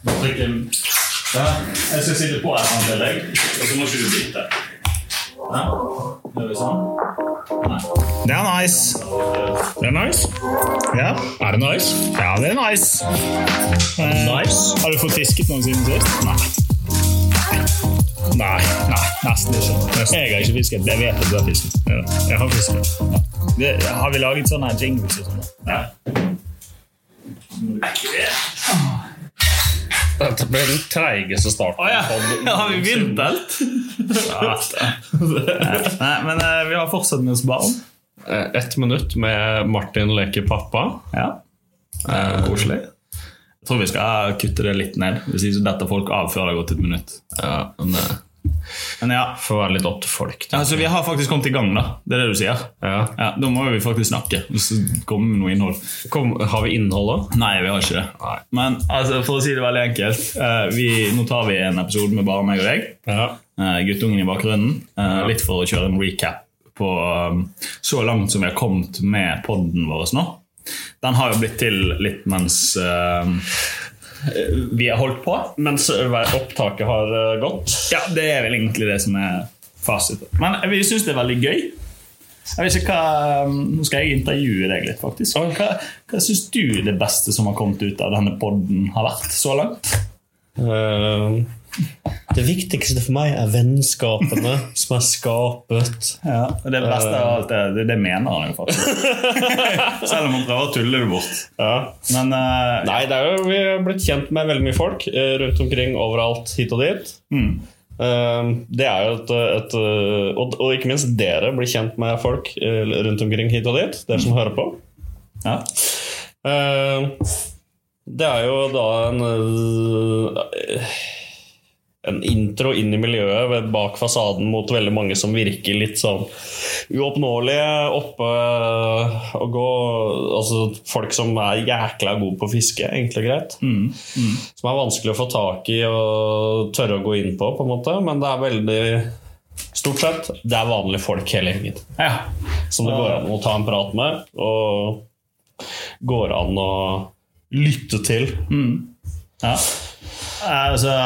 trykke der. Jeg skal sitte på et eller annet belegg, og så må ikke du bite. Ja. Gjør vi sånn? Nei. Det er nice. Det er nice. Ja, Er det nice? ja det er nice. Eh, Nice. Har du fått fisket noen siden sist? Nei. Nei, nei, nesten ikke. Jeg har ikke fisket. Jeg vet at du har fisket. Ja, Jeg har fisket. Ja. Det, har vi laget sånne jingles? og sånn da? Nei. Så må du ikke det. Dette ble den treigeste starten. Har vi begynt alt? Nei, men eh, vi har fortsatt med oss barn. Eh, Ett minutt med Martin leker pappa. Ja. Eh, Koselig. Jeg tror vi skal kutte det litt ned, hvis ikke dette folk av før det har gått et minutt. Ja, men eh, det Men ja, får være litt opp til folk. da. altså vi har faktisk kommet i gang, da. Det er det du sier. Ja. Ja, Da må vi faktisk snakke, og så komme med noe innhold. Kom, har vi innhold òg? Nei, vi har ikke det. Nei. Men altså, for å si det veldig enkelt, eh, vi, nå tar vi en episode med bare meg og deg. Ja. Eh, guttungen i bakgrunnen. eh, litt for å kjøre en recap på um, så langt som vi har kommet med podden vår nå. Den har jo blitt til litt mens eh, vi har holdt på. Mens opptaket har eh, gått. Ja, Det er vel egentlig det som er fasit. Men vi syns det er veldig gøy. Jeg vet ikke hva, um, Nå skal jeg intervjue deg litt, faktisk. Hva, hva syns du det beste som har kommet ut av denne podden har vært så langt? Eh, Det viktigste for meg er vennskapene som er skapet. Ja, og Det beste av alt er det, det mener han jo faktisk. Selv om han prøver å tulle det bort. ja. Men eh, Nei, det er jo, vi har blitt kjent med veldig mye folk eh, rundt omkring, overalt, hit og dit. Mm. Eh, Det er jo et, et eh, og, og ikke minst dere blir kjent med folk eh, rundt omkring hit og dit, dere som hører på. ja. Eh, Det er jo da en eh, En intro inn i miljøet ved- bak fasaden mot veldig mange som virker litt sånn uoppnåelige. Oppe eh, og gå Altså folk som er jækla gode på å fiske, enkelt og greit. Mm. Mm. Som er vanskelig å få tak i og tørre å gå inn på, på en måte. Men det er veldig Stort sett det er vanlige folk hele gjengen ja. som det går an å ta en prat med, og går an å lytte til. ja. Altså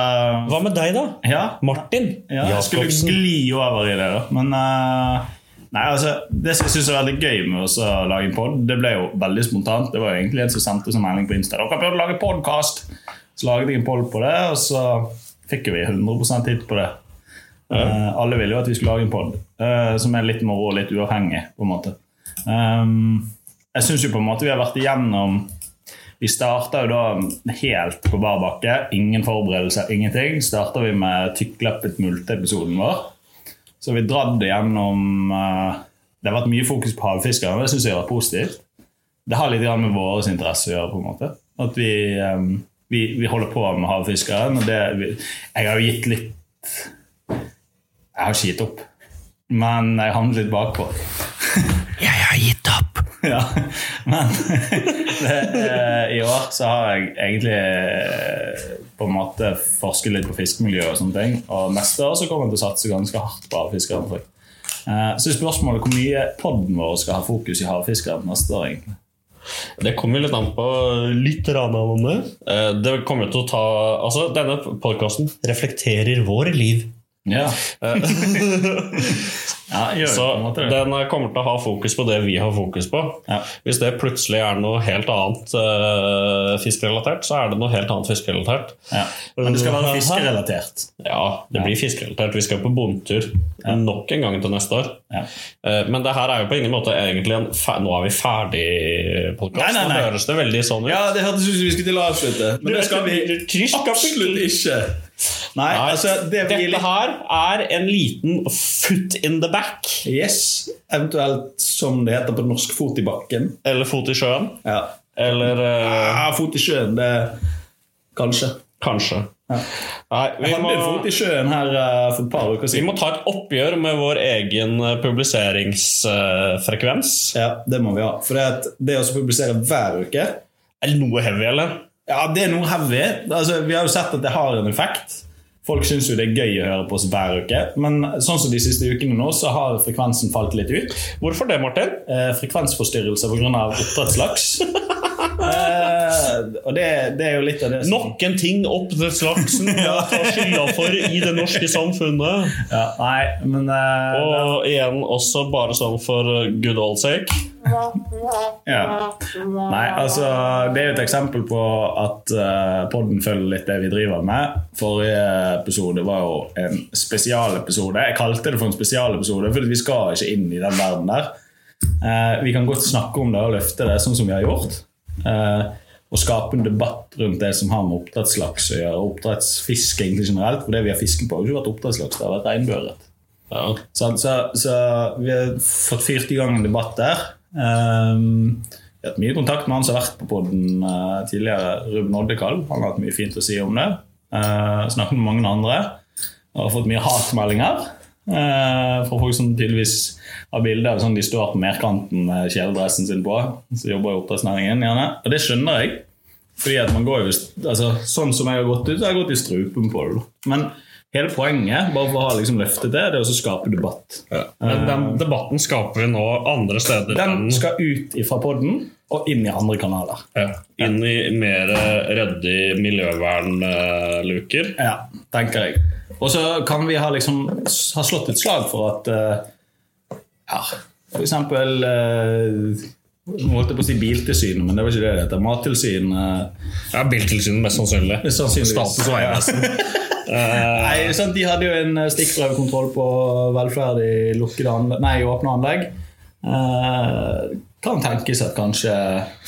Hva med deg, da? Ja. Martin? Ja, jeg skulle Jacobsen? skli over i det, da. Men eh, nei, altså, det som jeg syns er veldig gøy med oss å lage en pod, det ble jo veldig spontant. Det var jo egentlig en som sendte en melding på Insta. 'Dere burde lage podkast!' Så laget jeg en pod på det, og så fikk jo vi 100 hit på det. Eh, alle ville jo at vi skulle lage en pod eh, som er litt moro og litt uavhengig, på en måte. Ehm, jeg syns jo på en måte vi har vært igjennom vi starta jo da helt på bar bakke. Ingen forberedelser, ingenting. Starta vi med tykkleppet multe-episoden vår. Så vi dratt det gjennom eh, Det har vært mye fokus på havfiskere, og det syns jeg var positivt. Det har litt grann med våre interesser å gjøre, på en måte. At vi, eh, vi, vi holder på med havfiskeren. Og det, vi, jeg har jo gitt litt Jeg har ikke gitt opp, men jeg havnet litt bakpå. Jeg har gitt opp. Ja, men det, eh, i år så har jeg egentlig eh, på en måte forsket litt på fiskemiljø og sånne ting. Og neste år så kommer jeg til å satse ganske hardt på havfiskeantrykk. Eh, Så er spørsmålet hvor mye podden vår skal ha fokus i havfiskeren neste år, egentlig. Det kommer jo litt an på Litt rann av om det. Eh, Det kommer jo til å ta Altså, denne podkasten Reflekterer vår liv. Ja, ja gjør det Eh, Så på en måte det. den eh, kommer til å ha fokus på det vi har fokus på. Ja. Hvis det plutselig er noe helt annet eh, fiskerelatert, så er det noe helt annet fiskerelatert. Ja. Men det skal være fiskerelatert. Ja, det blir fiskerelatert. Vi skal på bondetur nok en gang til neste år. Ja. Eh, Men det her er jo på ingen måte egentlig en fe Nå er vi ferdig Nei, podkast. nei, Nå nei. høres det veldig sånn ut. Ja, det hørtes ut som vi skulle til å avslutte, men det skal vi absolutt ikke. Nei, Nei, altså, det blir Dette litt her er en liten foot in the back. Yes, eventuelt som det heter på norsk, fot i bakken. Eller fot i sjøen. Ja. Eller eh, Ja, fot i sjøen, det Kanskje. kanskje. Ja. Nei, vi Jeg hadde må, en fot i sjøen her eh, for et par uker vi siden. må ta et oppgjør med vår egen eh, publiseringsfrekvens. Ja, Det må vi ha. For det, at det å publisere hver uke Er det noe heavy, eller? Ja, det er noe heavy. Altså, vi har jo sett at det har en effekt. Folk syns jo det er gøy å høre på oss hver uke, men sånn som de siste ukene nå, så har frekvensen falt litt ut. Hvorfor det, Martin? Eh, frekvensforstyrrelser pga. oppdrettslaks. eh, og det, det er jo litt av det som Nok en ting opp til slagsen å ta skylda for i det norske samfunnet. Ja, nei, men eh, Og igjen også bare sånn for good old sake. ja. Nei, altså Det er jo et eksempel på at uh, podden følger litt det vi driver med. Forrige episode var jo en spesialepisode. Jeg kalte det for en spesialepisode, for vi skal ikke inn i den verden der. Eh, vi kan godt snakke om det og løfte det, sånn som vi har gjort. Eh, og skape en debatt rundt det som har med oppdrettslaks å gjøre. og Oppdrettsfisk egentlig generelt, for det vi har fisket på, har jo ikke vært oppdrettslaks, det har vært regnbueørret. Ja. Sant? Så, så vi har fått fyrt i gang en debatt der. Ehm, vi har hatt mye kontakt med han som har vært på podden eh, tidligere, Ruben Oddekalv. Han har hatt mye fint å si om det. Eh, snakket med mange andre. Og har fått mye hatmeldinger eh, fra folk som tydeligvis har bilder av sånn de står på merkanten med kjeledressen sin på, som jobber i oppdrettsnæringen. gjerne. Og det skjønner jeg. Fordi at man går jo, altså, Sånn som jeg har gått ut, så har jeg gått i strupen på det. da. Men hele poenget bare for å ha liksom løftet det, det er også å skape debatt. Men den debatten skaper vi nå andre steder Den enn skal ut ifra podden og inn i andre kanaler. ja. inn i mer eh, ryddig miljøvernluker. Ja, tenker jeg. Og så kan vi ha, liksom, ha slått et slag for at eh, ja, for eksempel eh, Nå holdt jeg på å si Biltilsynet, men det var ikke det det heter. Mattilsynet. Ja, Biltilsynet, mest sannsynlig. sannsynligvis. Statens vegvesen. Nei, sant, De hadde jo en eh, stikkprøvekontroll på velferdig lukkede anlegg, nei, åpne anlegg. Eh, kan tenkes at kanskje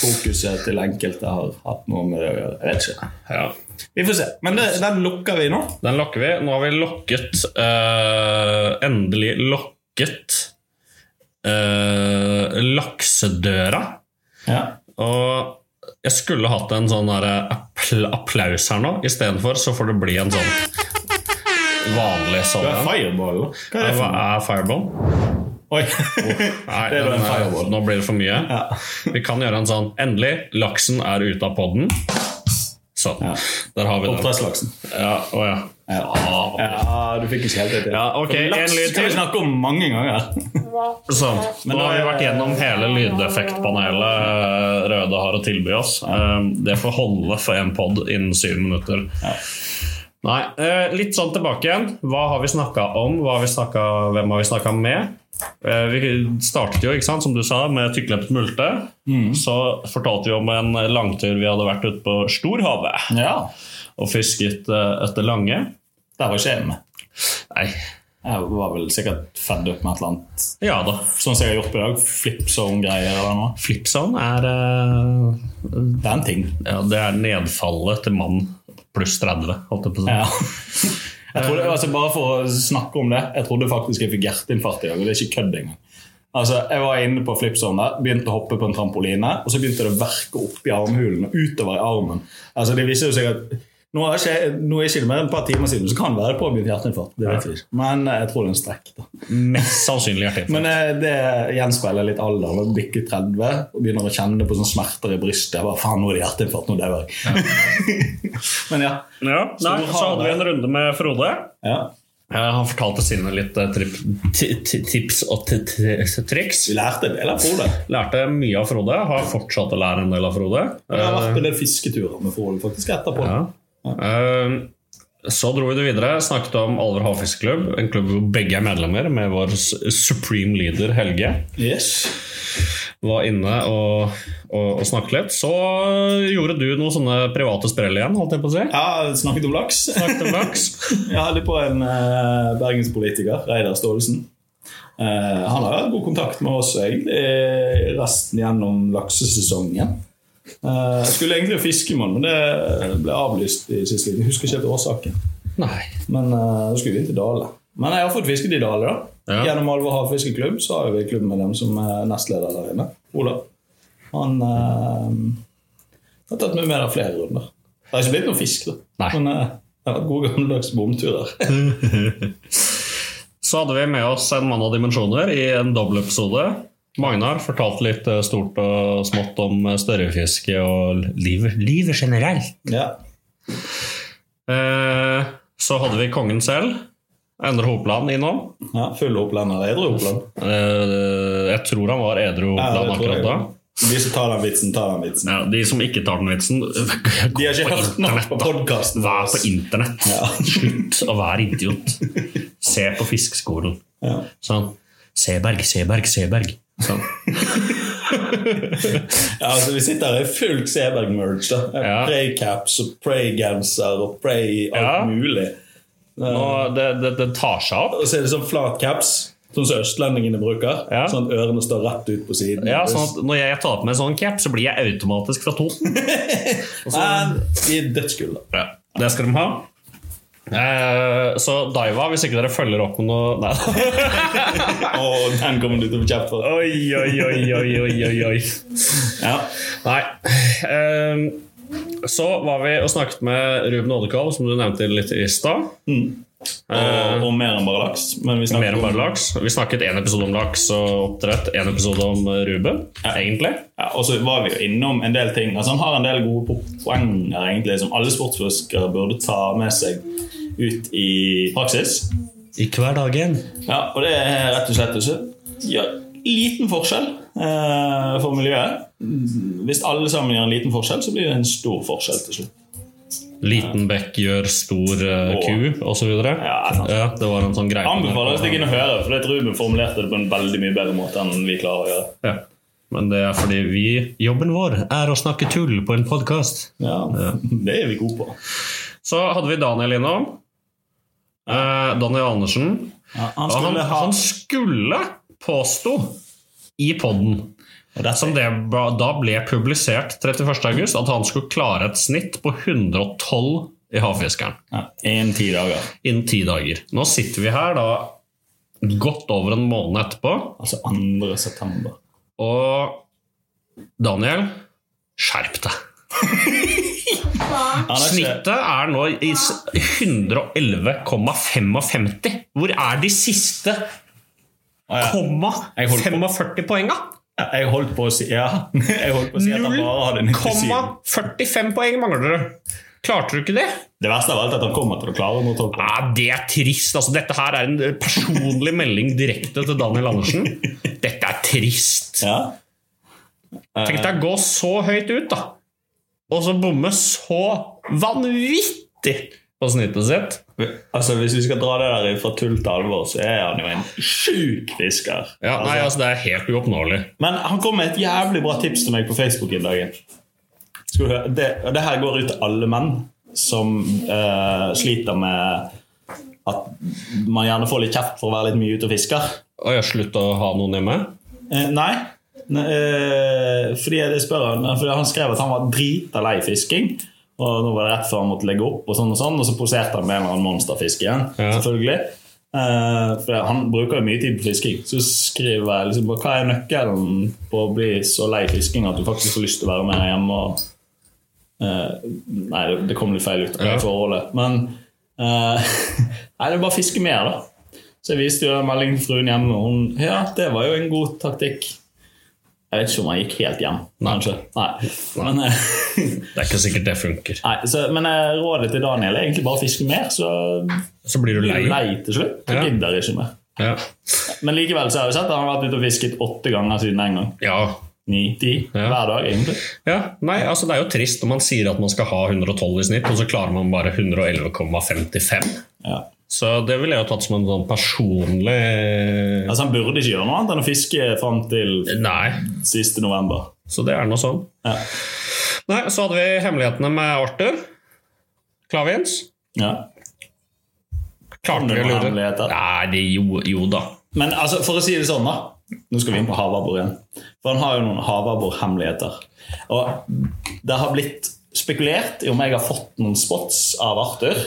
fokuset til enkelte har hatt noe med det å gjøre. Jeg vet ikke. Ja. Vi får se. Men det, den lukker vi nå. Den lokker vi. Nå har vi lokket eh, Endelig lokket eh, laksedøra. Ja. Og jeg skulle hatt en sånn der appl applaus her nå. Istedenfor så får det bli en sånn vanlig sånn en. fireball. Hva er det Hva for noe? er fireball? Oi. Nei, Det er bare en den er- fireball. Nå blir det for mye. Vi kan gjøre en sånn Endelig, laksen er ute av podden. Sånn. Ja. Der har vi den. Oppdrettslaksen. Ja, å ja. Ja. Ja, du fikk ikke helt det til. Ja, ok, For en lyd Laks skal til. vi snakke om mange ganger. Sånn. Men Nå har vi da- vært gjennom hele lydeffektpanelet eh, Røde har å tilby oss. Eh, Det får holde for en pod innen syv minutter. Nei, eh, litt sånn tilbake igjen. Hva har vi snakka om? Hva har vi snakket, hvem har vi snakka med? Eh, Vi startet jo, ikke sant, som du sa, med Tykkleppet multe. Så fortalte vi om en langtur vi hadde vært ute på Storhavet Ja. og fisket eh, etter lange. Der var ikke jeg med. Nei, Jeg var vel sikkert fedd opp med et eller annet. ja da. Sånn som jeg har gjort på i dag. Flipzone-greier eller noe. Flipsound er eh, Det er en ting. Ja, det er nedfallet til mann pluss 30, holdt jeg på å si. Ja. Jeg trodde, altså bare for å snakke om det, jeg trodde faktisk jeg fikk hjerteinfarkt i dag. og Det er ikke kødd engang. Altså, Jeg var inne på flipzone, der, begynte å hoppe på en trampoline, og så begynte det å verke opp i armhulen og utover i armen. Altså, det viser jo seg at Nå er ikke, nå er ikke det mer enn et par timer siden, så kan det være påbegynt hjerteinfarkt. det vet vi ikke. Men eh, jeg tror det er en strekk. da. Mest sannsynlig hjerteinfarkt. Men eh, det gjenspeiler litt alder. Når du bikker 30 og begynner å kjenne på sånne smerter i brystet. Hva faen, nå er det hjerteinfarkt, nå dauer jeg. Men ja. Ja, nei, Stor så hadde vi hale. en runde med Frode. ja. Eh, Han fortalte sine litt eh, trip, ti- ti- tips og ti- ti- triks. Vi lærte en del av Frode. Lærte mye av Frode, har fortsatt å lære en del av Frode. Eh, Jeg har vært på en del fisketurer med Frode faktisk etterpå. Ja. Eh, Så dro vi det videre, snakket om Alver Havfiskeklubb, en klubb hvor begge er medlemmer, med vår s- supreme leader Helge. Yes. var inne og, og, og snakket litt. Så gjorde du noen sånne private sprell igjen, holdt jeg på å si. Jeg har snakket om laks. Snakket om laks. Jeg hadde på en eh, bergenspolitiker, Reidar Staalesen. Eh, han har hatt god kontakt med oss egentlig eh, resten gjennom laksesesongen. Eh, jeg skulle egentlig fiske med han, men det ble avlyst i siste liten. Jeg husker ikke helt årsaken. Nei. Men eh, da skulle vi inn til Dale. Men jeg har fått fisket i Dale, da. Ja. Gjennom Alvor havfiskeklubb så har vi en klubb med dem som er nestleder der inne. Olav. Han eh, har tatt med meg der flere runder. Det har ikke blitt noe fisk, da. Nei. Men eh, det har vært gode gammeldags bomturer. Så hadde vi med oss en mann av dimensjoner i en dobbeltepisode. Magnar fortalte litt eh, stort og smått om eh, størrefiske og livet, livet generelt. ja. Eh, så hadde vi kongen selv, Endre Hopland, innom. ja. Full opplender. Edru oppland. Eh, jeg tror han var edru Ja, det Hopland tror jeg. akkurat da. De som tar den vitsen, tar den vitsen. Ja, de som ikke tar den vitsen, De har ikke hørt nok på podcasten Vær vår. på internett. Slutt å være idiot. Se på Fiskeskolen. Ja. Sånn. Seberg, Seberg, Seberg. Sånn. Ja, altså, vi sitter her i fullt Seberg-merge. da. Ja. Prey-caps og prey-genser og prey alt Ja. mulig. Og det, det, det tar seg opp. Og så er det sånn flat caps, sånn som østlendingene bruker. Ja. Sånn at ørene står rett ut på siden. Ja, sånn at Når jeg tar på meg en sånn cap, så blir jeg automatisk fra to. Men de er dødsgule. Ja, det skal de ha. Eh, så Daiwa, hvis ikke dere følger opp med noe Nei. Og den kommer du til å få kjeft for. Oi, oi, oi, oi, oi, oi, oi. Ja. Nei. Ehm, så var vi og snakket med Ruben Oddekal, som du nevnte litt i stad. Og, og mer enn bare laks. Men vi Mer snakker om bare laks. Vi snakket én episode om laks og oppdrett, én episode om eh, Ruben, egentlig. Ja, og så var vi jo innom en del ting. Altså, han har en del gode po- poenger egentlig, som alle sportsfiskere burde ta med seg ut i praksis. I hverdagen. Ja, og det er rett og slett ikke ja, liten forskjell eh, for miljøet. Hvis alle sammen gjør en liten forskjell, så blir det en stor forskjell til slutt. Liten bekk gjør stor eh, Å. ku, osv. Ja, sant. ja, det var en sånn greie. Anbefaler å stikke inn og høre, for det tror jeg Ruben formulerte det på en veldig mye bedre måte enn vi klarer å gjøre. Ja. Men det er fordi vi Jobben vår er å snakke tull på en podkast. Ja, Det er vi gode på. Så hadde vi Daniel innom. Eh, Daniel Andersen. han Og han, skulle ha han skulle påstå i podden som det ba, da ble publisert 31. august at han skulle klare et snitt på 112 i havfiskeren ja, en ti dager. innen ti dager. Nå sitter vi her da godt over en måned etterpå, Altså 2. september. og Daniel, skjerp deg. Han er ikke- Snittet er nå i s- 111,55. Hvor er de siste ja. komma Jeg holdt på. 45 poenga? Jeg holdt på å si Ja, jeg holdt på å si at han bare hadde 97. 0,45 poeng mangler dere. Klarte du ikke det? Det verste av alt er at han kommer til å klare noe tolv på. Ja, det er trist. Altså, dette her er en personlig melding direkte til Daniel Andersen. Dette er trist. Ja. Tenk deg å gå så høyt ut, da. Og så bomme så vanvittig på snittet sitt. Altså, hvis vi skal dra det der fra tull til alvor, så er han jo en sjuk fisker. Ja, nei, altså, det er helt uoppnåelig. Men han kom med et jævlig bra tips til meg på Facebook i dag. Skal du høre? Det, og det her går ut til alle menn som eh, sliter med at man gjerne får litt kjeft for å være litt mye ute og fisker. Og jeg slutta å ha noen hjemme. Eh, nei. Ne, eh, fordi jeg spør han, fordi han skrev at han var drita lei fisking. Og nå var det rett før han måtte legge opp, og sånn og sånn Og så poserte han med en eller annen monsterfisk igjen. Ja. Selvfølgelig eh, For han bruker jo mye tid på fisking. Så skriver jeg liksom bare, hva er nøkkelen på å bli så lei fisking at du faktisk får lyst til å være mer hjemme. Og, eh, nei, det, det kom litt feil ut av det Ja. forholdet. Men eh, Nei, det er bare å fiske mer, da. Så jeg viste jo en melding til fruen hjemme, og hun Ja, det var jo en god taktikk. Jeg vet ikke om han gikk helt hjem, kanskje. Nei. Men, eh, Det er ikke sikkert det funker. nei, så, men eh, rådet til Daniel er egentlig bare å fiske mer, så Så blir du blir Ah, lei. du lei til slutt. Du Ja. gidder ikke mer. Ja. Men likevel så har jeg sett at han har vært ute og fisket åtte ganger siden den gang. ja. Ni, ti. Ja. Hver dag, egentlig. ja. Nei, altså, det er jo trist når man sier at man skal ha 112 i snitt, og så klarer man bare 111,55. Ja. Så det ville jeg jo tatt som en sånn personlig Altså, han burde ikke gjøre noe annet enn å fiske fram til Nei, siste november. så det er noe sånn. Ja. Nei, Så hadde vi hemmelighetene med Arthur. Klavins. Ja. Klarte vi å noen lure hemmeligheter? Nei, det jo, jo da. Men altså, for å si det sånn, da. Nå skal vi inn på havabbor igjen. For han har jo noen havabborhemmeligheter. Og det har blitt spekulert i om jeg har fått noen spots av Arthur.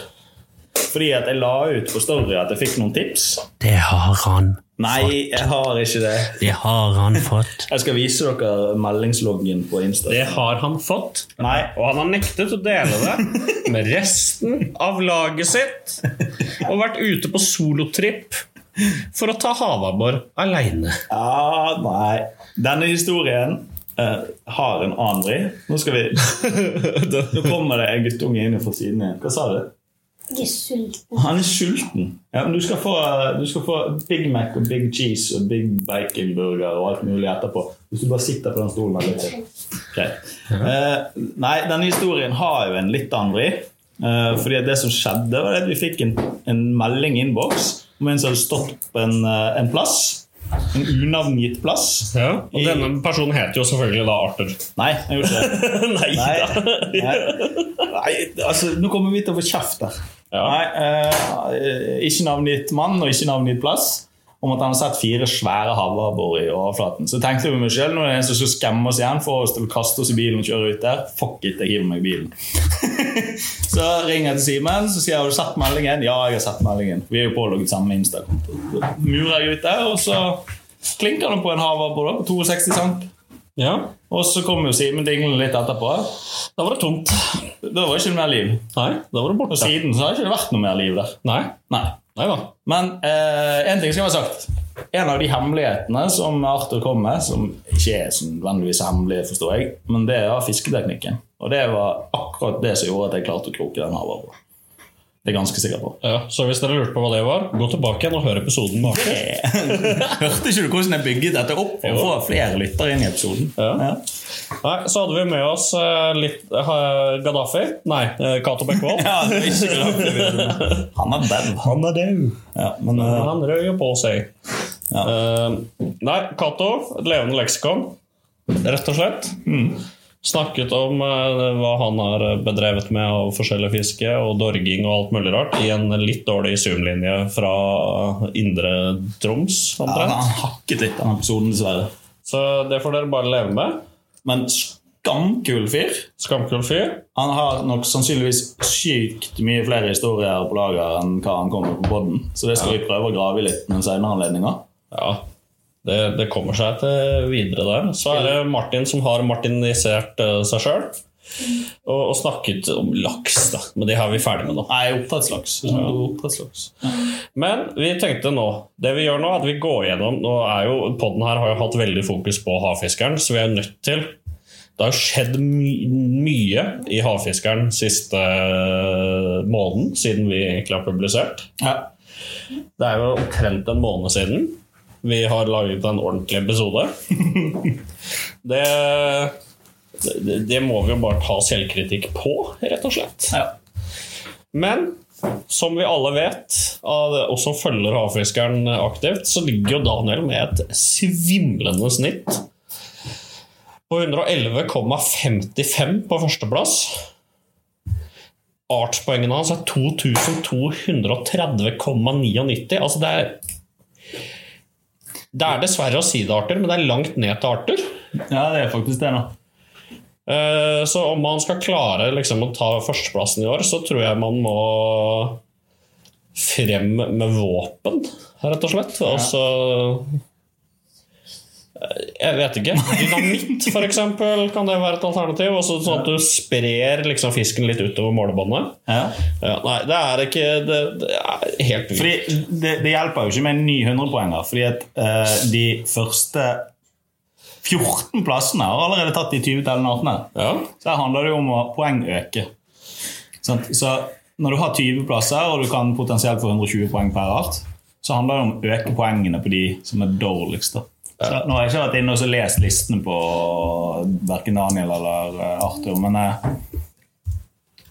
Fordi at jeg la ut på Story at jeg fikk noen tips. Det har han. Nei, jeg har ikke det. Det har han fått. Jeg skal vise dere meldingsloggen på Insta. Det har han fått. Nei. Og han har nektet å dele det med resten av laget sitt. Og vært ute på solotripp for å ta havabbor aleine. Ja, nei. Denne historien eh, har en annen vri. Nå skal vi Nå kommer det en guttunge inn fra siden igjen. Hva sa du? Jeg er sulten. Han er sulten. Ja, men du, skal få, du skal få Big Mac og Big Cheese og Big Baconburger og alt mulig etterpå. Hvis du bare sitter på den stolen her litt til. Greit. Eh, nei, denne historien har jo en litt annen vri. Eh, fordi at det som skjedde, var at vi fikk en, en melding i innboks om en som hadde stått på en, eh, en plass. En unavngitt plass. Ja, og denne personen heter jo selvfølgelig da Arthur. Nei, jeg gjorde ikke det. Nei Nei, da. nei, nei altså, nå kommer vi til å få kjeft der. Ja. Nei, eh, ikke navngitt mann og ikke navngitt plass. Om at han har sett fire svære havabbor i overflaten. Så tenkte jeg med meg selv, nå er det en som skal skremme oss igjen for oss til å kaste oss i bilen og kjøre ut der. Fuck it, jeg hiver meg i bilen. så ringer jeg til Simen så sier jeg, har du sett meldingen. Ja, jeg har sett meldingen. Vi er jo pålogget samme Insta-konto. Så Murer jeg ut der, og så klinker han på en havabbor da, på 62 cent. Ja, Og så kommer jo Simen dinglende litt etterpå. da var det tomt. Da var det ikke mer liv. Nei, da var det Og borte. siden så har det ikke vært noe mer liv der. Nei, Nei. nei da. Men én ting skal være sagt. En av de hemmelighetene som Arthur kom med, som ikke er så nødvendigvis hemmelige, forstår jeg, men det er fisketeknikken. Og det var akkurat det som gjorde at jeg klarte å kroke den havabboren. Det er jeg ganske sikker på. Ja, så hvis dere lurte på hva det var, gå tilbake igjen og hør episoden med Arthur. Hørte ikke du hvordan jeg bygget dette opp for å få flere lyttere inn i episoden? Ja. Nei, så hadde vi med oss eh, litt eh, Gaddafi. Nei, eh, Cato Bekkevold. Ja, det er ikke klart. Han er dev. Han er dau. Ja, men Men eh, Han røy jo på seg. Ja. Eh, nei, Cato, et levende leksikon, rett og slett. Mm. Snakket om eh, hva han har bedrevet med av forskjellig fiske og dorging og alt mulig rart i en litt dårlig zoomlinje fra eh, indre Troms, han omtrent. han hakket litt av episoden, dessverre. Så det får dere bare leve med. Men skamkul fyr. Skamkul fyr. Han har nok sannsynligvis sykt mye flere historier på lager enn hva han kommer på podden. Så det skal vi prøve å grave i litt med en senere anledninger. Ja, det, det kommer seg til videre der. Så er det Martin som har martinisert eh, seg sjøl. Og, og snakket om laks, da. Men det har vi ferdig med nå. Nei, oppdrettslaks. Hvis man tror sånn oppdrettslaks. Men vi tenkte nå Det vi gjør nå, er at vi går gjennom Nå er jo, Podden her har jo hatt veldig fokus på havfiskeren, så vi er nødt til Det har skjedd my mye i havfiskeren siste eh, måneden, siden vi egentlig har publisert. Ja. Det er jo omtrent en måned siden vi har laget en ordentlig episode. Det, det, det må vi jo bare ta selvkritikk på, rett og slett. Ja. Men som vi alle vet, av- og som følger havfiskeren aktivt, så ligger jo Daniel med et svimlende snitt. På 111,55 på førsteplass. Artspoengene hans er 2230,99. Altså det er Det er dessverre å si det, Arthur, men det er langt ned til Arthur. ja, det er faktisk det nå. Eh, Så om man skal klare liksom, å ta førsteplassen i år, så tror jeg man må frem med våpen, rett og slett. Og så eh, Jeg vet ikke. Dynamitt, for eksempel, kan det være et alternativ. Og så sånn at du sprer liksom, fisken litt utover målebåndet. Ja. Ja, nei, det er ikke Det, det er helt vilt. Fordi det, det hjelper jo ikke med en ny 100-poenger, fordi at eh, de første 14 plassene har allerede tatt de 20 tellende artene. Ja. Så her handler det jo om å poengøke. Sant? Så når du har 20 plasser, og du kan potensielt få 120 poeng per art, så handler det om å øke poengene på de som er dårligst. da. Så nå har jeg ikke vært inne og så lest listene på verken Daniel eller eh, Arthur, men eh,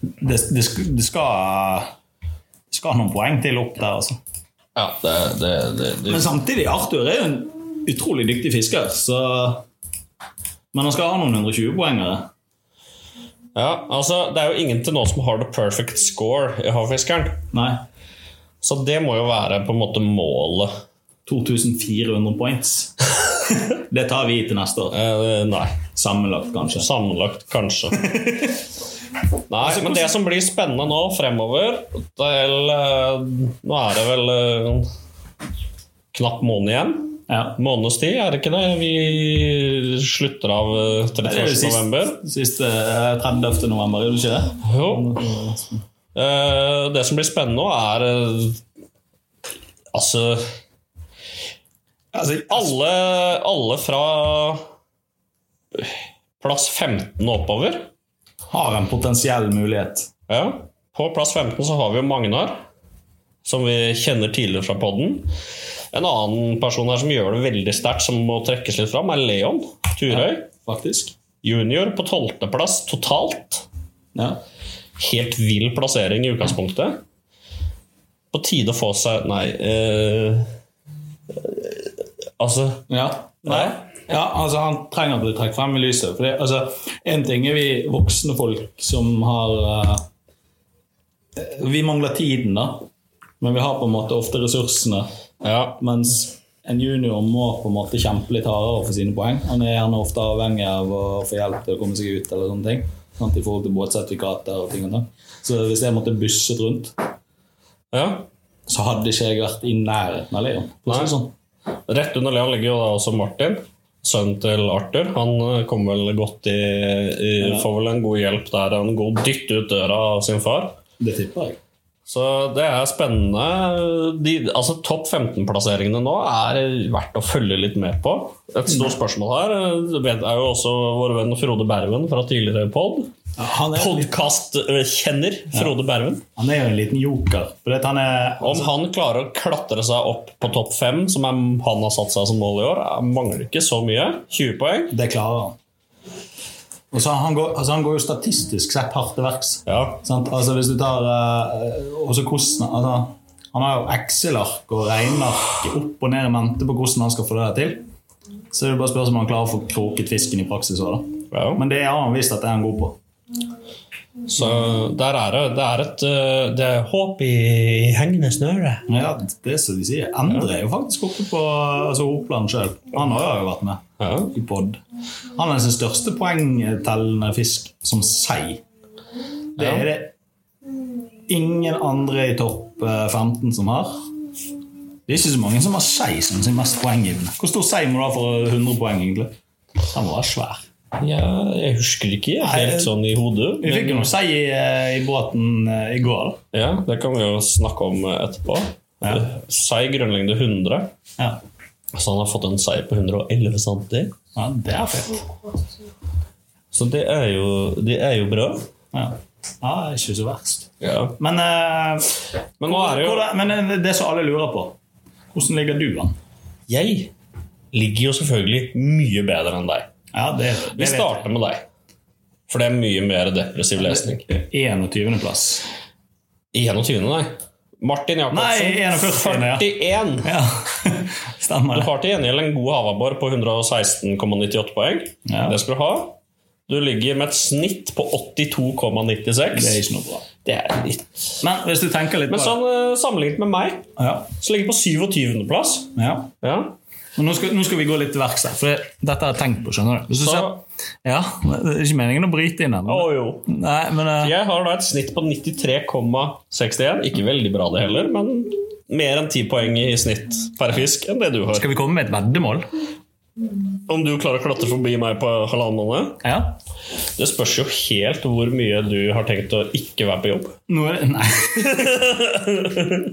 det, det, sk- det skal det skal noen poeng til opp der, altså. ja det, det, det, det. Men samtidig, Arthur er jo en utrolig dyktig fisker, så Men han skal ha noen 120-poengere. Ja, altså, det er jo ingen til nå som har the perfect score i havfiskeren. Nei. Så det må jo være på en måte målet. 2400 points. Det tar vi til neste år. Eh, nei. Sammenlagt, kanskje. Sammenlagt, kanskje. Nei, men det som blir spennende nå fremover til, eh, Nå er det vel eh, knapp måned igjen. Ja. Måneds tid, er det ikke det? Vi slutter av eh, 31. november. siste, siste eh, 30. november, gjør du ikke det? Jo. Eh, det som blir spennende nå, er eh, Altså alle, alle fra plass 15 og oppover. Har en potensiell mulighet. Ja. På plass 15 så har vi jo Magnar, som vi kjenner tidligere fra podden. En annen person her som gjør det veldig sterkt, som må trekkes litt fram, er Leon Turøy. faktisk. Junior på 12. plass totalt. Ja. Helt vill plassering i utgangspunktet. På tide å få seg Nei. eh, eh, altså Ja. Nei. Ja, altså Han trenger å bli trukket frem i lyset. For det, altså, En ting er vi voksne folk som har eh, Vi mangler tiden, da. Men vi har på en måte ofte ressursene. Ja, Mens en junior må på en måte kjempe litt hardere for sine poeng. Han er gjerne ofte avhengig av å få hjelp til å komme seg ut eller sånne ting. sånn Sant, I forhold til båtsertifikater og ting og ting. Så hvis jeg måtte busset rundt, ja. så hadde ikke jeg vært i nærheten av Leon. for å si det Nei. Sånn. Rett under Leon ligger jo da også Martin, sønnen til Arthur. Han eh, kom vel godt i, i Får vel en god hjelp der, en god dytt ut døra av sin far. Det tipper jeg. Så det er spennende. De, altså Topp 15-plasseringene nå er verdt å følge litt med på. Et stort spørsmål her eh, vet- er jo også vår venn Frode Berven fra tidligere pod. Ja, han, er, Podkast-kjenner Frode Berven. han er jo en liten joker. For det, at han er, altså, Om han klarer å klatre seg opp på topp fem, som er, han har satt seg som mål i år, er- mangler ikke så mye. 20 poeng. det klarer han. Og så han, går, altså han går jo statistisk sett hardt til verks. Ja. Sant? Altså hvis du tar eh, også hvordan, altså, Han har jo Excel-ark og regneark opp og ned i mente på hvordan han skal få det der til. Så er det bare spørsmål om han klarer å få kroket fisken i praksis òg, da. ja. Men det har han visst at det er han god på. Så der er det. Det er et eh, det er håp. Opp i hengende snøre. Ja, det er som de sier. Endre er jo faktisk oppe på altså, Oppland sjøl. Han har jo vært med Ja. i pod. Han er sin største poengtellende fisk som sei. Det er det ingen andre i topp eh, 15 som har. Det er ikke så mange som har sei som sin mest poenggivende. Hvor stor sei må du ha for 100 poeng, egentlig? Den må være svær. Ja, jeg husker ikke helt sånn i hodet. Vi fikk jo men- noe sei i, eh, i båten eh, i går. da. Ja, Det kan vi jo snakke om eh, etterpå. Ja. Sei grunnlengde 100. Ja. Så han har fått en sei på 111 cm. ja, det er fett. Så det er jo, det er jo bra. Ja. ja, det er ikke så verst. Ja. Men, eh, Men nå er det jo hvordan- men eh, det som alle lurer på Hvordan ligger du an? Jeg ligger jo selvfølgelig mye bedre enn deg. Ja, det, Vi det vet jeg. starter med deg. For det er mye mer depressiv lesning. 21. plass. I 21, nei. Martin Jacobsen. Nei, 41, ja. 41. Ja, stemmer Du det. har til gjengjeld en god havabbor på 116,98 poeng. Ja. Det skal du ha. Du ligger med et snitt på 82,96. Det er ikke noe bra. Det er litt Men hvis du tenker litt Men på sånn eh, sammenlignet med meg, det ja, så ligger jeg på 27. plass. ja. Ja. Men nå, skal, nå skal vi gå litt til verks her, for det, dette har jeg tenkt på. skjønner du? Hvis du Så, ser, ja, Det er ikke meningen å bryte inn å ennå. jo. Nei, men eh, Jeg har da et snitt på 93,61. Ikke veldig bra det heller, men mer enn 10 poeng i snitt per fisk enn det du har. skal vi komme med et veddemål? Om du klarer å klatre forbi meg på halvannen måned Ja? Det spørs jo helt hvor mye du har tenkt å ikke være på jobb. Nå er, nei.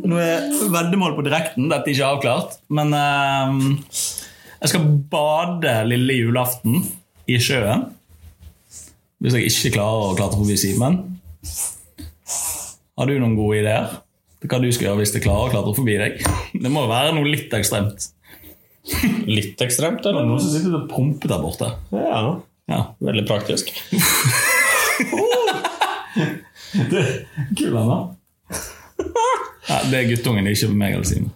Nå er veddemål på direkten. Dette er ikke avklart. Men eh, jeg skal bade lille julaften i sjøen. Hvis jeg ikke klarer å klatre forbi Simen. Har du noen gode ideer til hva du skal gjøre hvis jeg klarer å klatre forbi deg? Det må jo være noe litt ekstremt. Litt ekstremt, eller? Noen som sitter og pumper der borte. Ja, Ja. veldig praktisk. Kul, da. Nei, det er guttungen, det er ikke meg eller Simen.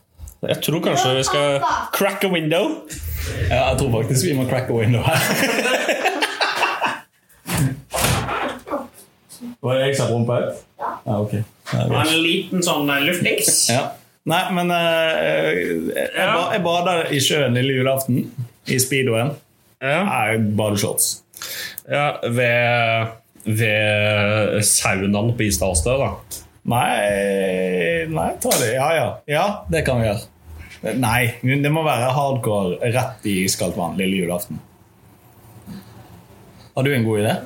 Jeg tror kanskje vi skal crack a window. Ja, jeg tror faktisk vi må crack a window her. Var det jeg som rumpa ut? Ja, ok. Nei, bra. En liten sånn luftings. Ja. Nei, men eh, jeg, ba, jeg bader i sjøen lille julaften. I speedoen. Ja, Nei, badeshorts. ja ved, ved saunaen på Isdalstø, da. Nei, nei, ta det. Ja, ja. Ja, det kan vi gjøre. Nei, men det må være hardcore rett i iskaldt vann lille julaften. Har du en god idé?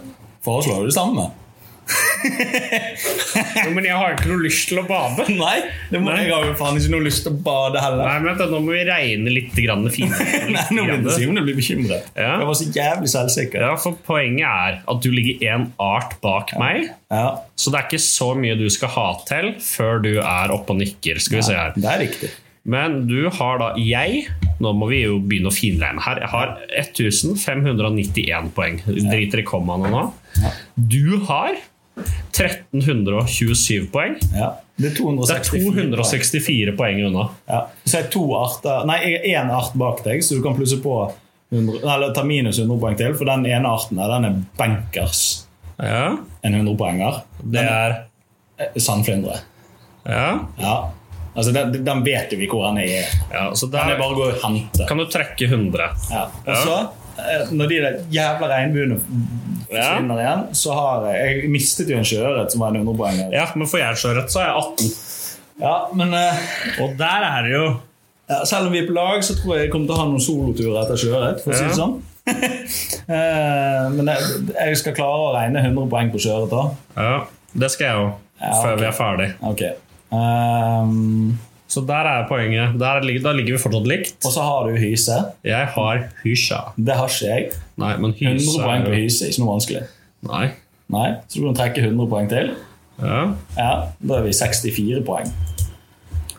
Foreslår du det samme? Jo, men jeg har ikke noe lyst til å bade. Nei, det må, jeg har jo faen ikke noe lyst til å bade heller. Nei, men vet du, Nå må vi regne litt grann fint. Nei, nå begynte Simen å bli bekymret. Ja. Jeg var så jævlig selvsikker. Ja, for Poenget er at du ligger én art bak meg, Ja, så det er ikke så mye du skal ha til før du er oppe og nikker. Skal vi se her. det er riktig. Men du har da jeg Nå må vi jo begynne å finregne her. Jeg har 1591 poeng. Driter i kommaene nå. Du har 1327 poeng. Ja. Det er 264. Det er 264 poeng unna. Ja. Så jeg er to arter Nei, jeg er én art bak deg, så du kan plusse på 100, eller ta minus 100 poeng til, for den ene arten der, den er bankers. Ja, En 100-poenger. det er Eh, Sandflyndre. ja. Ja. Altså, den, den vet jo vi hvor han er. ja, så Den er der bare å gå og hente. kan du trekke 100. Ja. Og så, eh, når de der jævla regnbuene forsvinner igjen, så har jeg Jeg mistet jo en sjøørret som var en 100-poenger. Ja, men får jeg sjøørret, så er jeg 18. Ja, men eh, Og der er det jo ja, selv om vi er på lag, så tror jeg jeg kommer til å ha noen soloturer etter sjøørret. For å si det Ja. sånn. Eh, men jeg, jeg skal klare å regne 100 poeng på sjøørret, da. Ja, det skal jeg jo. Ja, Før ok. vi er ferdig. Ok. Ehm, Så der er poenget. Der ligger, da ligger vi fortsatt likt. og så har du hyse. Jeg har Hysja. Det har ikke jeg. Nei, men 100 Hyse poeng er på jo hyse, ikke noe vanskelig. Nei. Nei, Så du kan trekke 100 poeng til. Ja. Ja, Da er vi 64 poeng.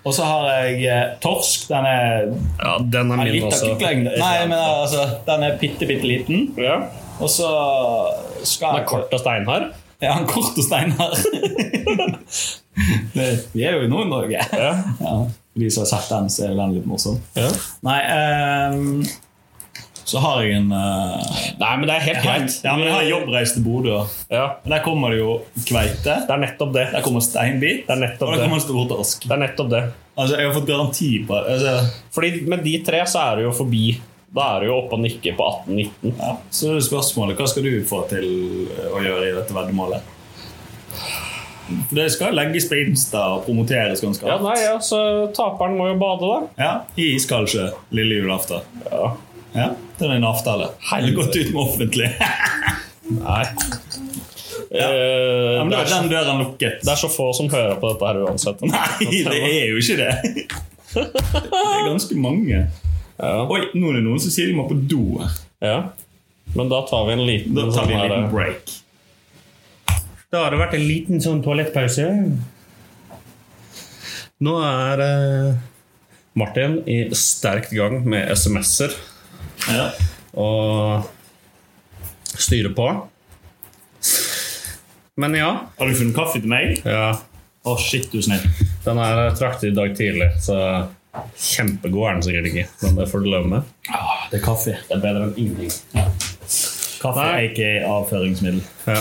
Og så har jeg eh, torsk. Den er ja, den er Nei, min litt av også. kuklengde. Nei, men altså, den er bitte, bitte liten. Ja. Og så skal Den er kort og steinhard. Ja, han kort og steinar. Det- vi er jo i Nord-Norge. Ja. Ja, for de som har sett den, så er jo den litt morsom. Ja. Nei, ehm, så har jeg en eh, Nei, men det er helt greit. Ja, men jeg har jobbreis til Bodø. og Ja, Der kommer det jo kveite. det er nettopp det. Der kommer steinbit. Det er nettopp Og der det. kommer stortorsk. Det er nettopp det. Altså, jeg har fått garanti på altså, Fordi med de tre så er du jo forbi. Da er du jo oppe og nikker på 18-19. ja. Så er det spørsmålet hva skal du få til eh, å gjøre i dette veddemålet? For det skal legges på Insta og promoteres ganske Ja, hardt. nei, ja, så taperen må jo bade, da. Ja, I iskaldsjø lille julaften. Ja. Ja, det er en avtale. Det er gått ut med offentlig. Nei. Eh, Ja, men det, da er er så, den døren lukket. det er så få som hører på dette her uansett. Nei, det er jo ikke det. Det er ganske mange. Ja. Oi, nå er det noen som sier de må på do. her. Ja. Men da tar vi en liten Da tar vi en sånn her, liten break. Da har det vært en liten sånn toalettpause. Nå er eh, Martin i sterkt gang med SMS-er Ja. og styrer på. Men ja, Har du funnet kaffe til meg? ja. Å, shit, du er snill. Den er traktet i dag tidlig, så kjempegod er den sikkert ikke. Men det får du leve med. Ah, det er kaffe. Det er bedre enn ingenting. Kaffe, Nei. aka avføringsmiddel. Ja.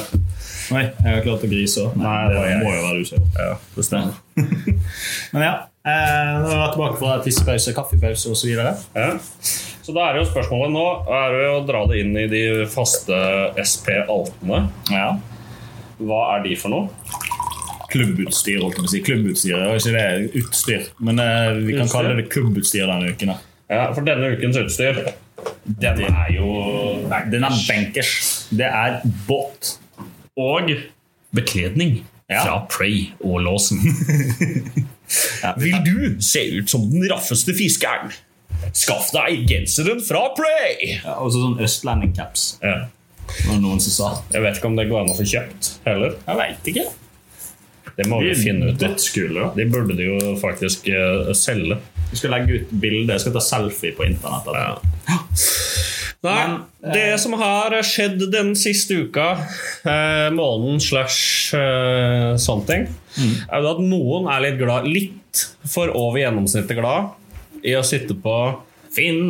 Nei, jeg har klart å grise òg. Nei, det jeg. må jo være du som ja, det stemmer. Men ja, eh, nå er jeg tilbake fra tissepause, kaffepause osv. Ja. Så da er jo spørsmålet nå er det jo å dra det inn i de faste SP-altene. Ja. Hva er de for noe? Klubbutstyr, holdt jeg på å si. Klubbutstyr er jo ikke det utstyr, men eh, vi kan Utstyr? kalle det klubbutstyr denne uken. da. Ja, For denne ukens utstyr, den er jo Nei, den er benkers. Det er båt. Og bekledning Ja. fra Prey og Lawson. Vil du se ut som den raffeste fiskeren? Skaff deg genseren fra Prey! Ja, og så sånn østlending-caps, Ja. var det noen som sa. Jeg vet ikke om det går an å få kjøpt heller. Jeg veit ikke. Det må vi Det er finne ut av. Dødskule. da. De burde det jo faktisk eh, selge. Jeg skal legge ut bilde. Jeg skal ta selfie på internett. altså. av det. Nei, det som har skjedd den siste uka, eh, måneden slash eh, something, er jo at noen er litt glad, litt for over gjennomsnittet glad, i å sitte på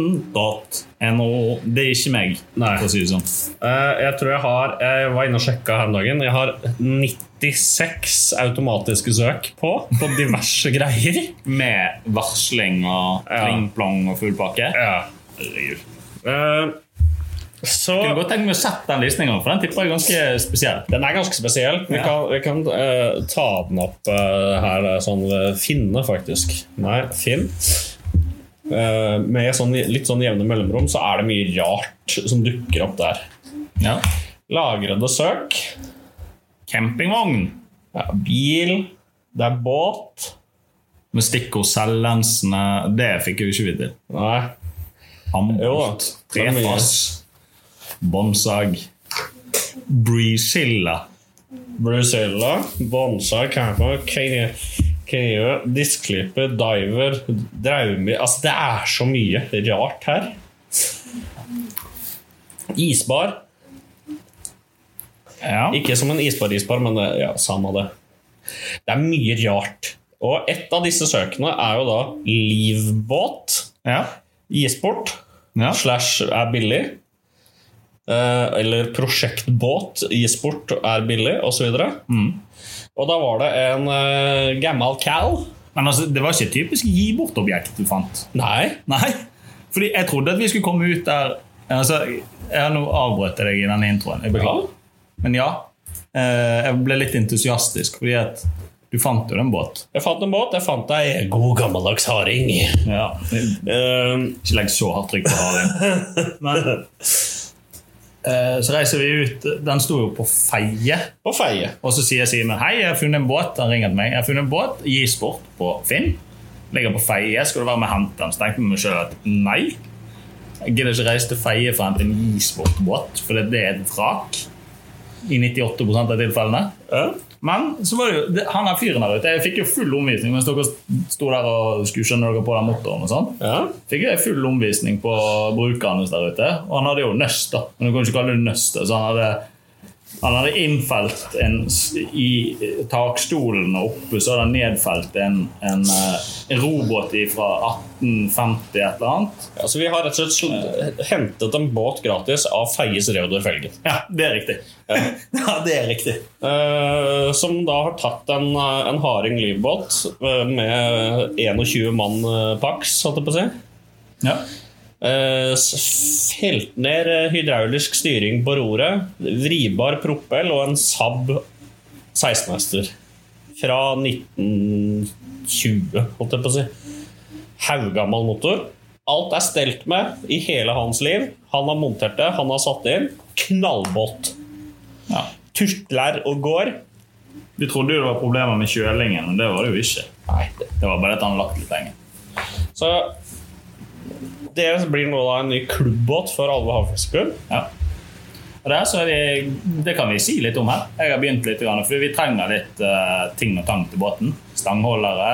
Finn.no. Det er ikke meg, Nei. for å si det sånn. eh, Jeg tror jeg har Jeg var inne og sjekka her om dagen. Jeg har 96 automatiske søk på, på diverse greier. Med varsling og Ja. pling-plong og full pakke. Ja. Herregud. Eh, så Jeg kunne godt tenke meg å sette den listen en gang, for den tipper jeg er ganske spesiell. Den er ganske spesiell. Vi kan, vi kan eh, ta den opp eh, her. eh, Sånn eh, finne, faktisk. Nei, Finn. Eh, med sånn, litt sånn jevne mellomrom så er det mye rart som dukker opp der. Ja. Lagrede søk. Campingvogn. Ja, bil. Det er båt. Med stikkord selvlensende Det fikk jeg jo ikke vite til. Nei. Jo da. Ambolt, Det er mye. trefass, båndsag, breezilla. Brusella. Bonsai. Camper. Kenye. Diskklipper. Diver. Draumi. Altså, det er så mye rart her. Isbar. Ja. Ikke som en isbar-isbar, men det, ja, samme det. Det er mye rart. Og et av disse søkene er jo da livbåt, ja. isport, ja. slash er billig. Eh, eller prosjektbåt, isport er billig, osv. Mm. Og da var det en eh, gammel cal. Men altså, det var ikke et typisk gi bort-objekt du fant. Nei. Nei, fordi jeg trodde at vi skulle komme ut der altså, Jeg har nå avbrøt jeg deg i denne introen. Jeg beklager. Men ja, eh, jeg ble litt entusiastisk, fordi at du fant jo den båt. Jeg fant en båt. Jeg fant ei god, gammeldags harding. Ja. Ikke Eh, legg så hardt trykk på haren. Men eh, så reiser vi ut. Den sto jo på Feie. på feie. Og så sier Simen hei, jeg har funnet en båt. Han ringer til meg. Jeg har funnet en båt, gi sport på Finn. Ligger på Feie. Skal du være med og hente den? Så tenkte jeg med meg sjøl at nei. Jeg gidder ikke reise til Feie for å hente en gi sport-båt, for det er et vrak. I 98 av tilfellene. Men så var det jo det- han der fyren der ute. Jeg fikk jo full omvisning mens dere sto der og skulle skjønne dere på den motoren. og sånn. Ja. Fikk jeg full omvisning på brukeren hans der ute. Og han hadde jo nøst, da. Men du kan ikke kalle det nøst. da. Så han hadde, han hadde innfelt en s- i takstolen og oppe, så hadde han nedfelt en, en, eh, en robåt fra 1850 et eller annet. Altså, vi har rett og slett sl- hentet en båt gratis av Feies Reodor Felgen. Ja, det er riktig. ja, det er riktig. Eh, som da har tatt en, eh, en harding livbåt eh, med 21 mann eh, paks, holdt jeg på å si. Ja. Eh, s- Felt ned eh, hydraulisk styring på roret, vribar propell og en Saab 16-hester. Fra 1920, holdt jeg på å si. Haugammal motor. Alt er stelt med i hele hans liv. Han har montert det, han har satt det inn. Knallbåt. Ja. Tutler og går. Du trodde jo det var problemer med kjølingen, men det var det jo ikke. Nei, Det det var bare at han hadde lagt litt penger. Så det blir nå da en ny klubbbåt for Alve havfiskeklubb. Ja. Og der, så er vi, det kan vi si litt om her. Jeg har begynt litt, grann, fordi vi trenger litt eh, ting og tang til båten. Stangholdere,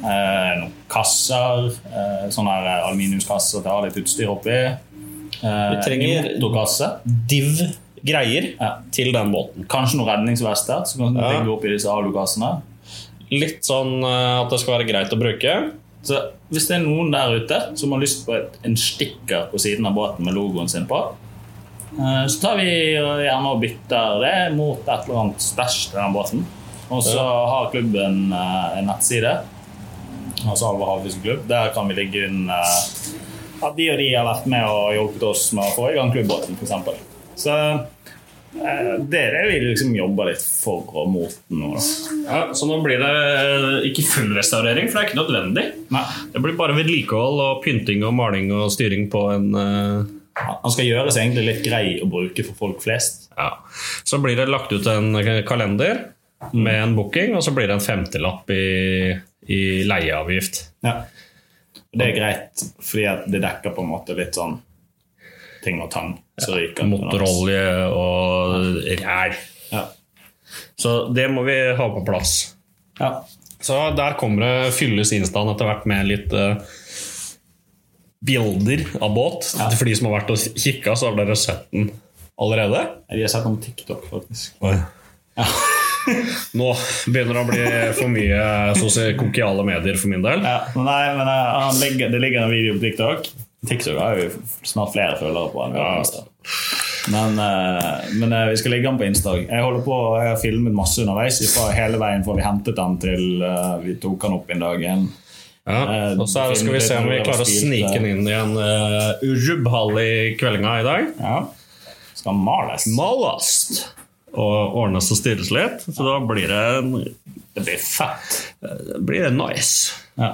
eh, noen kasser, eh, sånne her aluminiumskasser til å ha litt utstyr oppi. Uh, Vi trenger- motorkasse. Div greier Ja. til den båten. Kanskje noen redningsvester som kan Ja. ligge oppi disse alukassene. Litt sånn eh, at det skal være greit å bruke. Så hvis det er noen der ute som har lyst på et, en stikker på siden av båten med logoen sin på, eh, så tar vi gjerne og bytter det mot et eller annet stæsj til den båten. Og så har klubben eh, en nettside, altså Alva Havfiskeklubb. Der kan vi ligge inn eh, at de og de har vært med og hjulpet oss med å få i gang klubbbåten, f.eks. Så eh, det er det vi liksom jobber litt for og mot nå, da. Ja, så nå blir det eh, ikke full restaurering, for det er ikke nødvendig. Nei. Det blir bare vedlikehold og pynting og maling og styring på en eh, Han skal gjøres egentlig litt grei å bruke for folk flest. Ja. Så blir det lagt ut en kalender med en booking, og så blir det en femtelapp i, i leieavgift. Ja. Og det er greit, fordi at det dekker på en måte litt sånn ting og tang som ryker. Motorolje og ræl. Ja. Så det må vi ha på plass. Ja. Så der kommer det fylles instaen etter hvert med litt eh, bilder av båt. For de som har vært og kikka, så har dere sett den allerede. De har sett noe på TikTok, faktisk. Nå begynner det å bli for mye sosiale medier for min del. Ja, men nei, men eh, han ligger, det ligger en video på TikTok. TikTok har jo snart flere følgere på enn vi har på Insta. Men, eh, men eh, vi skal ligge den på Insta. Jeg holder på, jeg har filmet masse underveis fra hele veien fra vi hentet den til eh, vi tok den opp en dag igjen. Eh, Ja, og så er det- skal vi se om vi klarer å snike den inn i en uh, urubhall i kveldinga i dag. Ja. Skal males. Malast! Og ordnes og styres litt. Så da blir det, en- Det blir fett. det blir det nice. Ja.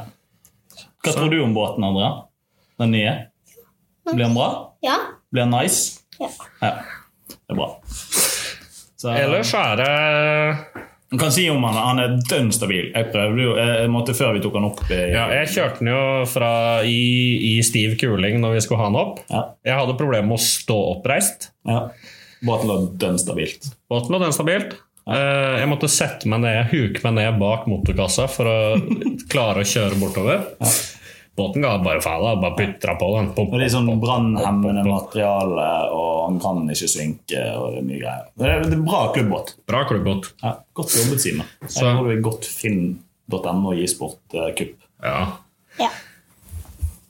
Hva tror du om båten, Andrea? Den nye? Blir den bra? Ja. Blir den nice? Ja. Ja, det er bra. Så, Ellers så er det Man kan si om han, han er dønn stabil. Jeg prøvde jo, jeg jeg måtte før vi tok han opp. i- ja, Jeg kjørte den jo fra i, i stiv kuling når vi skulle ha den opp. Ja, Jeg hadde problemer med å stå oppreist. ja. Bare at han var dønn stabilt. Båten lå den stabilt. Eh, Jeg måtte sette meg ned, huke meg ned bak motorkassa for å klare å kjøre bortover. Båten ga bare faen. da, Bare putra på den. Pum, Og det er pum, sånn pum. brannhemmende materiale, og han kan ikke synke, og det er mye greier. Men Det er, det er en bra klubbbåt. Bra klubbbåt. Ja, godt jobbet, Simen. Jeg Så- tror du er godt finn.no og gi sport eh, kupp. Ja. Ja.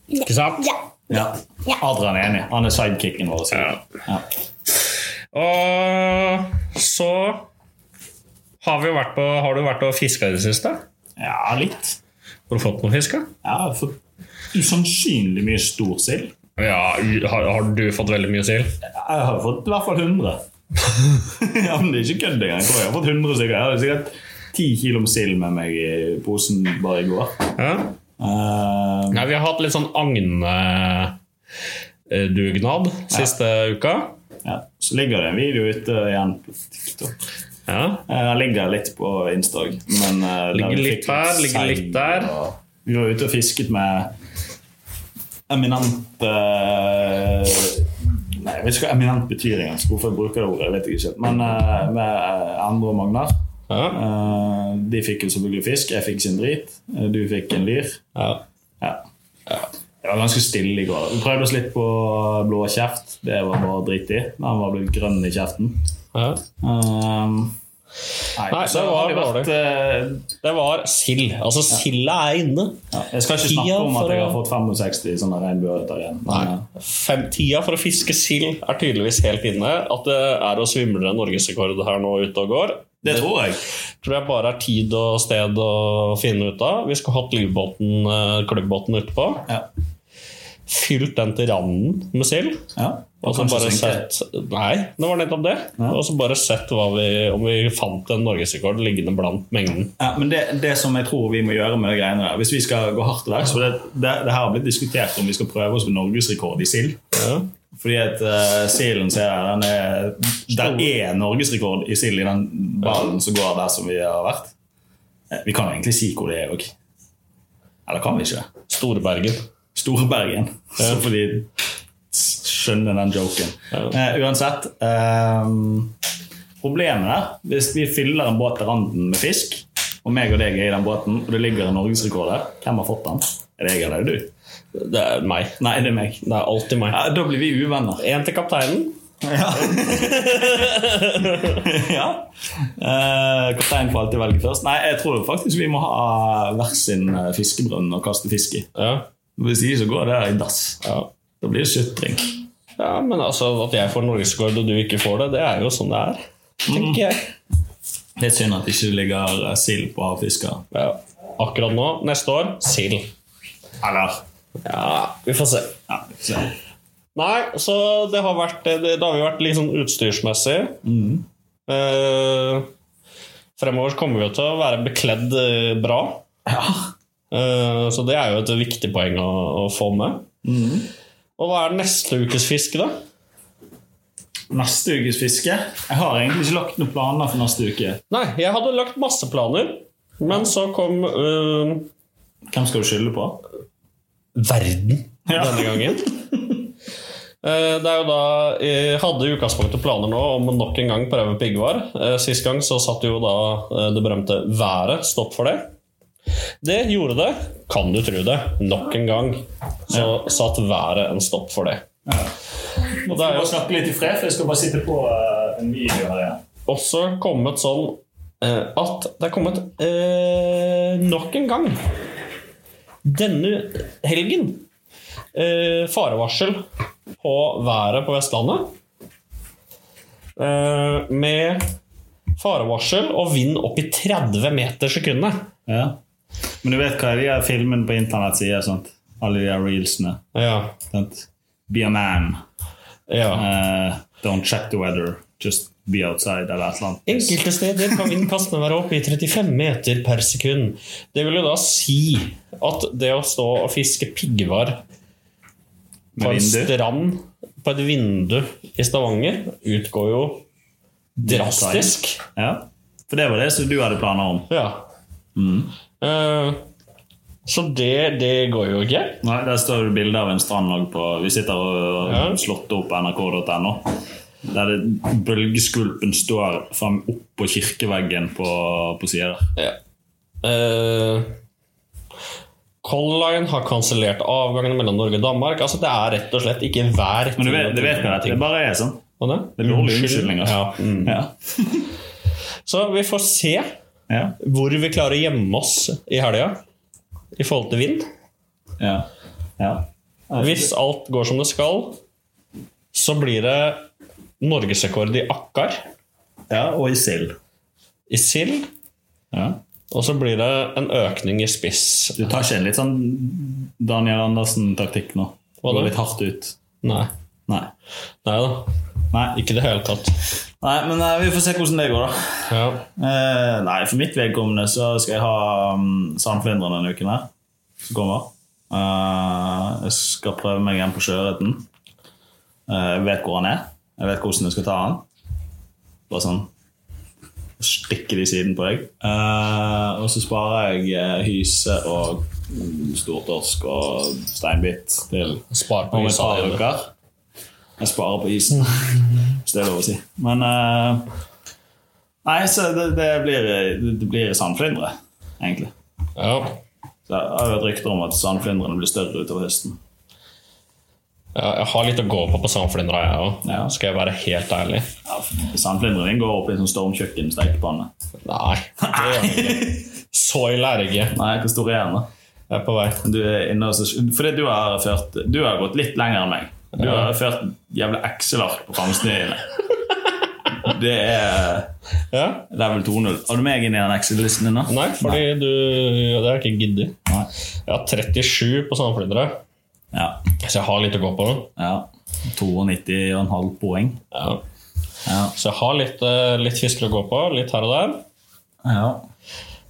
Ikke sant? Ja. Ja. Ja. Adrian er enig. Han er sidekicken vår. Simen. Ja. Og så har, vi jo vært på, har du vært og fiska i det siste? ja, litt. Har du fått noe fisk? da? Ja, for usannsynlig mye storsild. Ja, u- har, har du fått veldig mye sild? Jeg har fått i hvert fall 100. ja, men det er ikke kødd engang. Jeg tror jeg har fått 100 stykker. Jeg hadde sikkert 10 kilo med sild med meg i posen bare i går. Ja. Eh, Nei, vi har hatt litt sånn agnedugnad siste uka. ja. Så ligger det en video ute igjen på TikTok. Ja. Eh, Den ligger litt på Instag. Men, eh, Ligger den litt fikk her, ligger seig, litt der. og Vi var ute og fisket med eminent eh, Nei, jeg vet ikke hva eminent betyr engang. så Hvorfor jeg bruker det ordet, jeg vet ikke. Men eh, med Endre og Magnar. Ja. Eh, De fikk jo selvfølgelig fisk. Jeg fikk sin drit. Eh, Du fikk en lyr. Ja. Ja. Det var ganske stille i går. Vi prøvde oss litt på blå kjeft. Det var bare drit i. Den var blitt grønn i kjeften. Ja. Um, Nei, så det var har dårlig. vært, eh, Det var sild. Altså, silda er inne. ja, jeg skal ikke snakke Tida om for at jeg har å- fått 65 sånne regnbueørreter igjen. men, eh, Fem, tida for å fiske sild er tydeligvis helt inne. At det er og svimler en norgesrekord her nå ute og går, Det tror jeg. tror jeg bare er tid og sted å finne ut av. Vi skulle hatt livbåten, eh, klubbbåten ute på. Ja. Fylt den til randen med sild. Ja, Og så kanskje bare senke. sett Nei, det var nettopp det. Ja. Og så bare sett hva vi, om vi fant en norgesrekord liggende blant mengden. Ja, men det, det som jeg tror vi må gjøre med de greiene der, hvis vi skal gå hardt til verks For det, det, det her har blitt diskutert om vi skal prøve oss på norgesrekord i sild. Ja. Fordi at uh, silden ser jeg, den er, Det er norgesrekord i sild i den ballen som går der som vi har vært. Eh, Vi kan jo egentlig si hvor det er òg. Eller kan vi ikke? det? Storbergen. Storbergen. Så får de skjønne den joken. Eh, uansett ehm, Problemet der, hvis vi fyller en båt til randen med fisk, og meg og deg er i den båten, og det ligger en norgesrekord der, hvem har fått den? Er det jeg eller er det du? Det er meg. Nei, det er meg. Det er alltid meg. Ja, da blir vi uvenner. En til kapteinen. ja. Eh, Kapteinen får alltid velge først. Nei, jeg tror faktisk vi må ha hver sin eh, fiskebrønn å kaste fisk i. Ja. Hvis ikke så går det i dass. Ja. Da blir det sutring. ja, men altså at jeg får norgesrekord og du ikke får det, det er jo sånn det er. Tenker jeg. Litt synd at det ikke ligger eh, sild på havfisker. Ja. Akkurat nå, neste år, sild. Eller Ja, vi får se. ja, så. Nei, så det har vært Det, det har jo vært litt sånn utstyrsmessig. Eh, fremover så kommer vi jo til å være bekledd eh, bra. Eh, så det er jo et viktig poeng å, å få med. Og hva er neste ukes fiske, da? Neste ukes fiske? Jeg har egentlig ikke lagt noen planer for neste uke. Nei, jeg hadde lagt masse planer, men så kom eh, Hvem skal du skylde på? verden Ja. denne gangen. Eh, Det er jo da Jeg hadde i utgangspunktet planer nå om å nok en gang prøve piggvar. Eh, Sist gang så satt jo da eh, det berømte været stopp for det. Det gjorde det, kan du tro det. Nok en gang så satt været en stopp for det. Og det er jo snakke litt i fred, for jeg skal bare sitte på eh, en video her igjen. også kommet sånn eh, at det er kommet eh, nok en gang denne helgen eh, farevarsel på været på Vestlandet. Eh, med farevarsel og vind opp i 30 meter sekundet. Ja. Men du vet hva de her filmene på internett sier? Sant? Alle de her reelsene. Ja. Sant? Be a man. ja. Eh, don't check the weather. Just be outside, eller et eller annet. Enkelte steder kan vindkastene være oppe i 35 meter per sekund. Det vil jo da si at det å stå og fiske piggvar Med på en vindu. strand på et vindu i Stavanger utgår jo Drastisk. Ja. For det var det som du hadde planer om. Ja. Mm. Eh, så det, det går jo ikke. Nei, Der står det bilde av en strand også på Vi sitter og Ja. har slått opp nrk.no. Der det, bølgeskulpen står fram oppå kirkeveggen på, på sida der. Ja. Eh, Color Line har kansellert avgangene mellom Norge og Danmark. Altså Det er rett og slett ikke hver Men du vet, du vet hva det er. Det bare er sånn. Hva da? Det er altså. dårlige unnskyldninger. Mm. Ja. Ja. Så vi får se Ja. hvor vi klarer å gjemme oss i helga i forhold til vind. Ja. ja. Hvis alt går som det skal, så blir det norgesrekord i akkar, ja og i sild. i sild, Ja. og så blir det en økning i spiss. Du tar ikke en litt sånn Daniel Andersen-taktikk nå? Hva da? Går litt hardt ut? Nei. Nei. Nei da. Nei, Ikke i det hele tatt. Nei men eh, vi får se hvordan det går, da. Ja. Eh, nei, for mitt vedkommende så skal jeg ha um, sandflyndrene denne uken her. Som kommer. Eh, jeg skal prøve meg igjen på sjøørreten. Eh, jeg vet hvor han er. Jeg vet hvordan jeg skal ta han. Bare sånn stikke det i siden på deg. Eh, og så sparer jeg eh, hyse og mm, stortorsk og steinbit til Spar på om et isa par allerede. uker. Jeg sparer på isen, hvis det er lov å si. Men eh, Nei, så det, det blir, det blir sandflyndre, egentlig. Ja. Så jeg har hørt rykter om at sandflyndrene blir større utover høsten. Ja, jeg har litt å gå på på sandflyndra, jeg òg. Ja. Skal jeg være helt ærlig. Ja, Sandflyndrene går opp i en sånn stormkjøkkenstekepanne. Nei. det gjør jeg ikke. Så ille er jeg ikke. Nei, hvor stor er den, da? Jeg er på vei. Du er inne og så, fordi du har, ført, du har gått litt lenger enn meg. Du har ført jævla Excel-ark på fangstene dine. Det er Ja? level 2.0. Har du meg inn i den Excel-listen din? da? Nei, fordi du ja, Det har jeg ikke giddet. Nei. Jeg har 37 på sandflyndra, Ja. så jeg har litt å gå på. ja. 92,5 poeng. Ja. Ja. Så jeg har litt, eh, litt fisker å gå på, litt her og der. ja.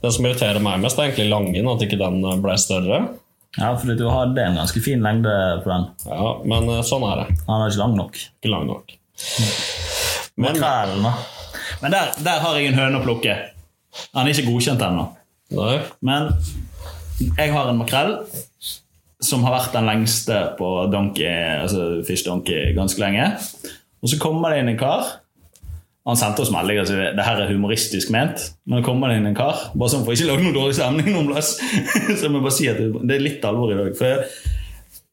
Den som irriterer meg mest, er egentlig langen, at ikke den eh, ble større. Ja, fordi du hadde en ganske fin lengde på den. Ja, Men eh, sånn er det. Han er ikke lang nok. Ikke lang nok. Men, Men der, der har jeg en høne å plukke. Han er ikke godkjent ennå. Nei. Men jeg har en makrell som har vært den lengste på donkey, altså fish donkey ganske lenge. Og så kommer det inn en kar. Han sendte oss melding. Altså, det her er humoristisk ment, men det kommer inn en kar. Bare sånn for ikke å lage noe dårlig stemning noen plass. så jeg må bare si at det det er litt alvor i dag. For jeg,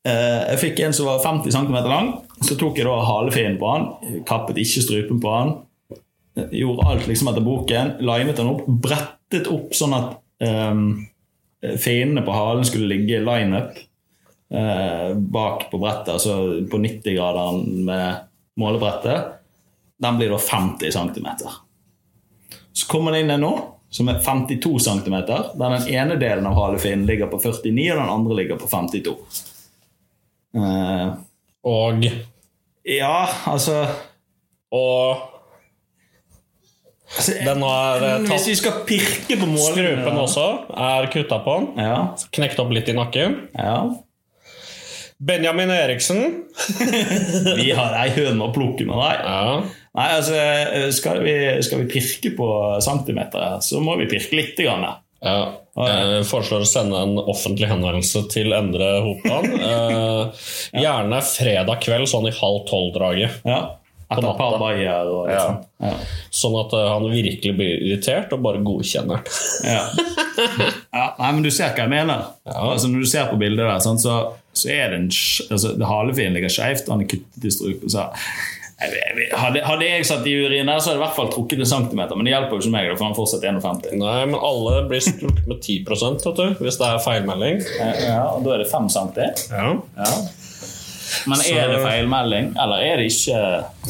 eh, jeg fikk en som var 50 cm lang. Så tok jeg da halefinnen på han, kappet ikke strupen på han. Gjorde alt liksom etter boken. Linet han opp, brettet opp sånn at eh, finnene på halen skulle ligge i lineup eh, bak på brettet, altså på 90-graderen med målebrettet, den blir da 50 cm. Så kommer det inn en nå, som er 52 cm, der den ene delen av halefinnen ligger på 49, og den andre ligger på 52. Eh, Og ja, altså, Og altså den har eh, Hvis tatt vi skal pirke på målet strupen også. Er kutta på den. Ja, Knekt opp litt i nakken. ja. Benjamin Eriksen. Vi har ei høne å plukke med, nei. Ja. Nei, altså, skal vi, skal vi pirke på centimeter, her, så må vi pirke litt. Grann, her. Jeg Eh, foreslår å sende en offentlig henvendelse til Endre Hopland. Eh, gjerne fredag kveld, sånn i halv tolv-draget. ja. Etter natta. et par bayer og litt sånn. Ja. Sånn at eh, han virkelig blir irritert og bare godkjenner den. Ja. Ja, nei, men du ser hva jeg mener. Altså, når du ser på bildet der, sånn, så, så er det en sj- altså, det Halefinnen ligger skeivt, han er kuttet i strupen. Så, jeg vet- jeg- hadde, hadde jeg satt i urien der, så hadde jeg i hvert fall trukket en centimeter. Men det hjelper jo ikke meg, da, for han er fortsatt 51. Nei, men alle blir strukket med 10 vet du, hvis det er feilmelding. Ja, og da er det 5 cm. Ja. Men er det feilmelding, eller er det ikke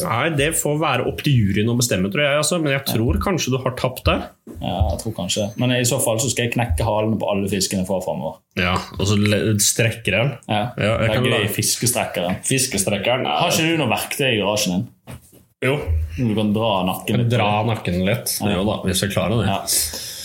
Nei, det får være opp til juryen å bestemme, tror jeg. Altså. Men jeg tror kanskje du har tapt der. Ja, jeg tror kanskje. Men i så fall så skal jeg knekke halene på alle fiskene fra framover. Ja, og så le- strekker den. Ja. Ja, jeg Legge kan det i lage- fiskestrekkeren. Fiskestrekkeren Har er ikke du noe verktøy i garasjen din? Jo. Du kan dra nakken litt. Dra nakken litt. Jo da, hvis jeg klarer det. Ja.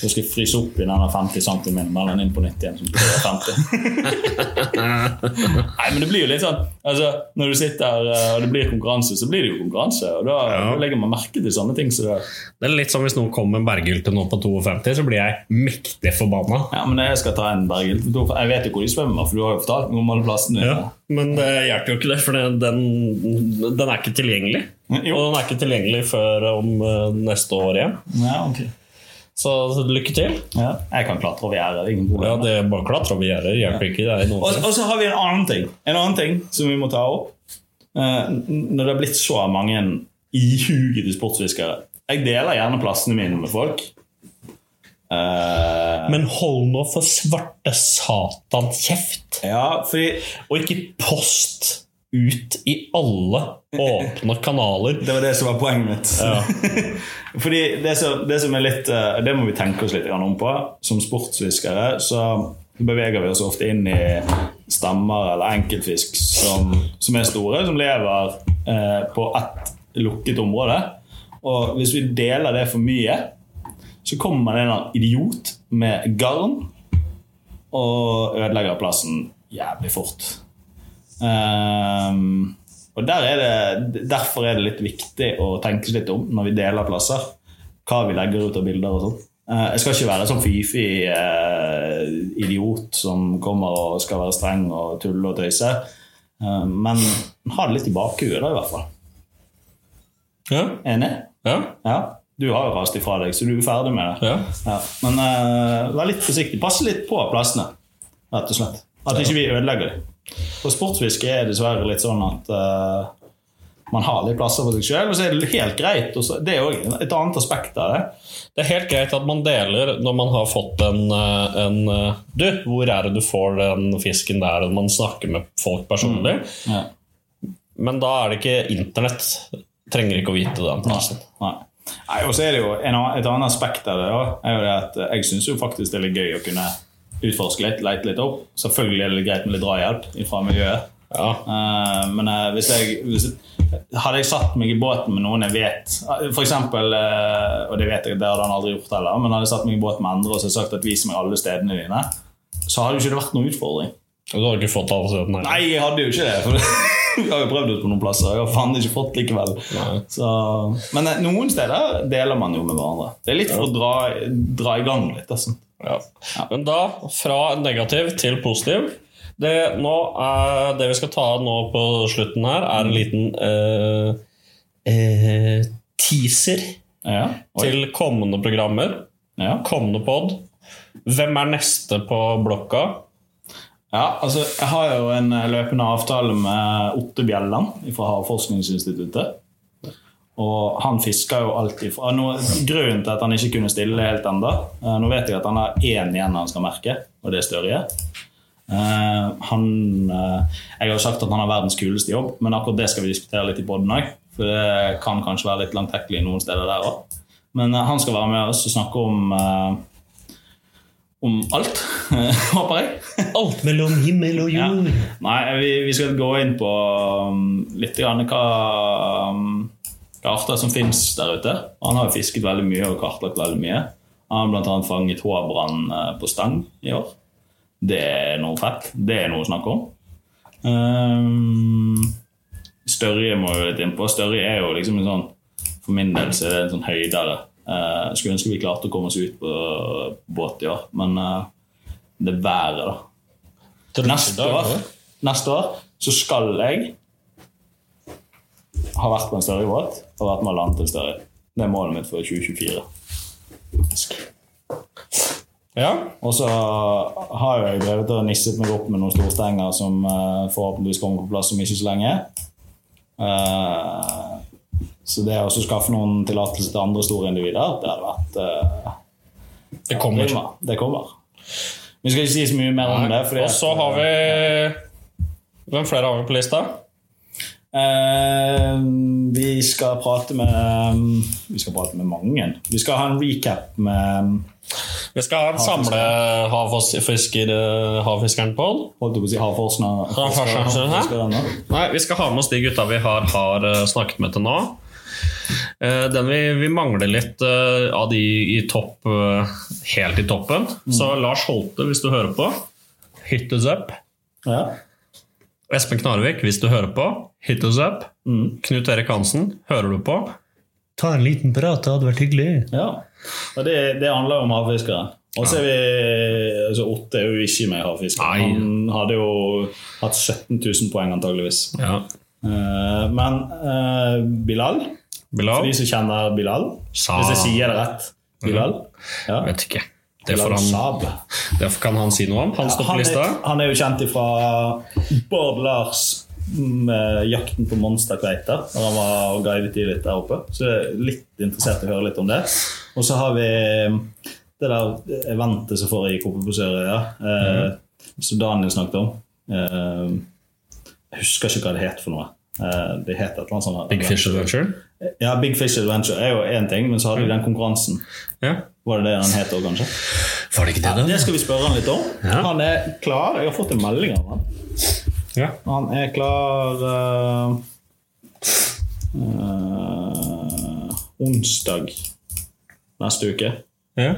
Du skal fryse opp i denne 50 cm og melde den inn på nytt igjen. Som blir 50. Nei, men det blir jo litt sånn altså, Når du sitter eh, og det blir konkurranse, så blir det jo konkurranse. Og da, da legger man merke til sånne ting. Så det, Det er litt som hvis noen kommer med en berghylte nå på 52, så blir jeg mektig forbanna. ja, men jeg skal ta en berghild. Jeg vet jo hvor de svømmer, for du har jo fortalt meg om alle plassene. Men det hjelper jo ikke det, for det- den, den er ikke tilgjengelig. Jo. Og den er ikke tilgjengelig før om eh, neste år igjen. Ja, ok. Så, så lykke til. Ja. Jeg kan klatre over gjerdet. det er Ingen Ja, problem. det er bare klatre over gjerder hjelper ikke. Det er noe. Og, og så har vi en annen ting En annen ting som vi må ta opp. Eh, n- når det har blitt så mange ihugede sportsfiskere Jeg deler gjerne plassene mine med folk. Eh, Men hold nå for svarte satan kjeft, ja, fordi og ikke post ut i alle åpne kanaler. Det var det som var poenget mitt. Fordi det som, det som er litt eh, Det må vi tenke oss litt grann om på. Som sportsfiskere så beveger vi oss ofte inn i stammer eller enkeltfisk som, som er store, som lever eh, på ett lukket område. Og hvis vi deler det for mye, så kommer det en eller annen idiot med garn og ødelegger plassen jævlig fort. Ehm, og der er det, derfor er det litt viktig å tenke litt om når vi deler plasser. Hva vi legger ut av bilder og sånn. Eh, jeg skal ikke være sånn fifi eh, idiot som kommer og skal være streng og tulle og tøyse. Eh, men ha det litt i bakhuet, da, i hvert fall. Ja, Enig? ja, Ja. Du har jo rast ifra deg, så du er ferdig med det. ja. Ja, Men eh, vær litt forsiktig. Pass litt på plassene, rett og slett. At ikke vi ødelegger dem. For sportsfiske er dessverre litt sånn at eh, man har litt plasser for seg sjøl, og så er det helt greit. Og så, det er jo et annet aspekt av det. Det er helt greit at man deler når man har fått en, eh, en eh, Du, hvor er det du får den fisken der? og Man snakker med folk personlig. Ja. Men da er det ikke internett. Trenger ikke å vite den plassen. Nei. Nei, og så er det jo en, annen- Et annet aspekt av det også, er jo det at jeg syns faktisk det er litt gøy å kunne utforske litt, leite litt opp. Selvfølgelig er det litt greit med litt drahjelp fra miljøet. Ja. Eh, men eh, hvis jeg hvis, Hadde jeg satt meg i båten med noen jeg vet For eksempel, eh, og det vet jeg, det hadde han aldri gjort heller, men hadde jeg satt meg i båten med andre og så hadde jeg sagt at vis meg alle stedene dine, så hadde jo ikke det vært noen utfordring. Og Du har ikke fått alle stedene? Nei, jeg hadde jo ikke det. For jeg har jo prøvd ut på noen plasser. Jeg har faen ikke fått likevel. Så, men eh, noen steder deler man jo med hverandre. Det er litt for å dra, dra i gang litt. Altså. Ja. Men da, fra negativ til positiv det, nå er, det vi skal ta nå på slutten her, er en liten eh, eh, teaser Ja. Oi. til kommende programmer. Ja. Kommende pod. Hvem er neste på blokka? Ja, altså, jeg har jo en eh, løpende avtale med Otte Bjelland fra Havforskningsinstituttet. Og han fisker jo alt ifra nå, Grunnen til at han ikke kunne stille helt ennå Nå vet jeg at han har én igjen han skal merke, og det er Størje. Eh, han eh, Jeg har jo sagt at han har verdens kuleste jobb, men akkurat det skal vi diskutere litt i poden òg. For det kan kanskje være litt langtekkelig noen steder der òg. Men eh, han skal være med oss og snakke om eh, om alt, håper jeg. Alt mellom himmel og jord. Nei, vi, vi skal gå inn på um, litt grann hva, um, hva arter som finnes der ute. Han har jo fisket veldig mye og kartlagt veldig mye. Han har bl.a. fanget hårbrann eh, på stang i år. Det er noe fett. Det er noe å snakke om. Um, Størje må vi litt inn på. Størje er jo liksom en sånn For min del så er det en sånn høydere. Eh, skulle ønske vi klarte å komme oss ut på båt i år, men eh, det er været, da. Neste år, neste år så skal jeg ha vært på en større båt og vært med å lande til større. Det er målet mitt for 2024. Ja. Og så har jo jeg drevet og nisset meg opp med noen storstenger som eh, forhåpentligvis kommer på plass om ikke så lenge. Eh, så det å også skaffe noen tillatelse til andre store individer, det hadde vært eh, Det kommer. prima. Det kommer. Vi skal ikke si så mye mer om det. fordi Og så at- har vi Hvem flere har vi på lista? Eh, vi skal prate med eh, Vi skal prate med mange. Vi skal ha en recap med eh, Vi skal ha en samle eh, havfisker, havfiskeren-pod. holdt jeg på å si, havforskner- Havforskerne. forskerne. Nei, vi skal ha med oss de gutta vi har, har eh, snakket med til nå. Eh, Den vi, vi mangler litt eh, av de i topp, eh, helt i toppen. Så Lars Holte, hvis du hører på, Mm. hit us up. Ja. Espen Knarvik, hvis du hører på, Mm. hit us up. Knut Erik Hansen, hører du på? Ta en liten prat, det hadde vært hyggelig. ja. Og det, det handler jo om havfiskeren. Og så er vi altså Otte er jo ikke med i havfiskeren. Nei. Han hadde jo hatt 17 000 poeng, antageligvis. Ja. Eh, men eh, Bilal, for Bilal? de som kjenner Bilal Sa- Hvis jeg sier det rett. Bilal. Ja. Vet ikke. Mhm. Det får, Bilal han, Saab. det kan han si noe om. Han står på Han lista. er, han er jo kjent ifra Bård Lars med 'Jakten på monsterkveiter', når han var guidet i litt der oppe. Så jeg er litt interessert i å høre litt om det. Og så har vi mm, det der eventet som foregikk oppe på Sørøya, eh, Mhm. som Daniel snakket om. Eh, jeg husker ikke hva det het for noe. Eh, det het et eller annet sånt. her. Big Fish Adventure. Ja, Big Fish Adventure er jo én ting, men så hadde vi den konkurransen. Ja. Var det det han het òg, kanskje? Var det ikke det, Det skal vi spørre han litt om. Han er klar. Jeg har fått en melding av han. Ja. Han er klar eh, eh, Onsdag neste uke. Ja.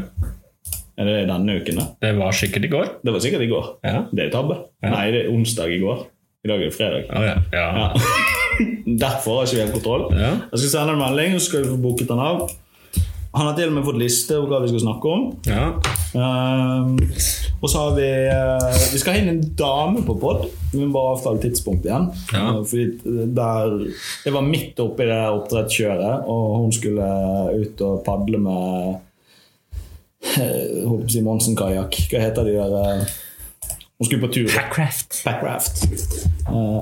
Er det denne uken, da? Det var sikkert i går. Det var sikkert i går. Ja. Det er tabbe. Nei, det er onsdag i går. I dag er det fredag. Ja, ja. ja. Derfor har ikke vi helt kontroll. Ja. Jeg skal sende en melding, og så skal vi få booket han av. Han har til og med fått liste over hva vi skal snakke om. ja. Ehm, og så har vi eh, Vi skal ha inn en dame på pod. Vi må bare avtale tidspunkt igjen. Ja. Eh, Fordi der, det var midt oppi det oppdrettskjøret, og hun skulle ut og padle med eh, Holdt på å si Monsen-kajakk. Hva heter de der eh, Hun skulle på tur. Packraft. Eh,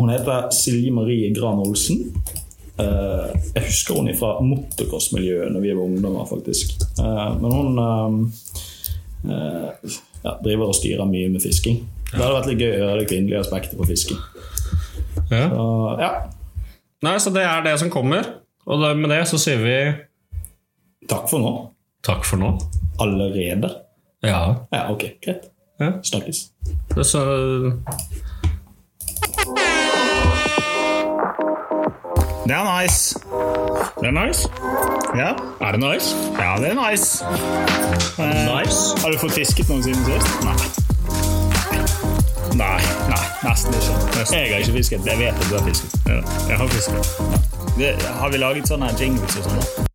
hun heter Silje Marie Gran Olsen. Eh, jeg husker hun fra motocross-miljøet når vi var ungdommer, faktisk. Eh, men hun eh, eh, ja, driver og styrer mye med fisking. Det hadde vært litt gøy å høre det kvinnelige aspektet på fisking. ja. Så, ja, Nei, så det er det som kommer. Og det, med det så sier vi takk for nå. takk for nå. Allerede? Ja. Ja, ok, greit. Ja. Snakkes. Det, så, Det er nice. det er nice. Ja, Er det nice? ja det er nice. Nice. Har du fått fisket noe siden sist? Nei. Nei, nei, nesten ikke. Jeg har ikke fisket. Jeg vet at du har fisket. Jeg har fisket. Det, har vi laget sånne jingles og sånn? da?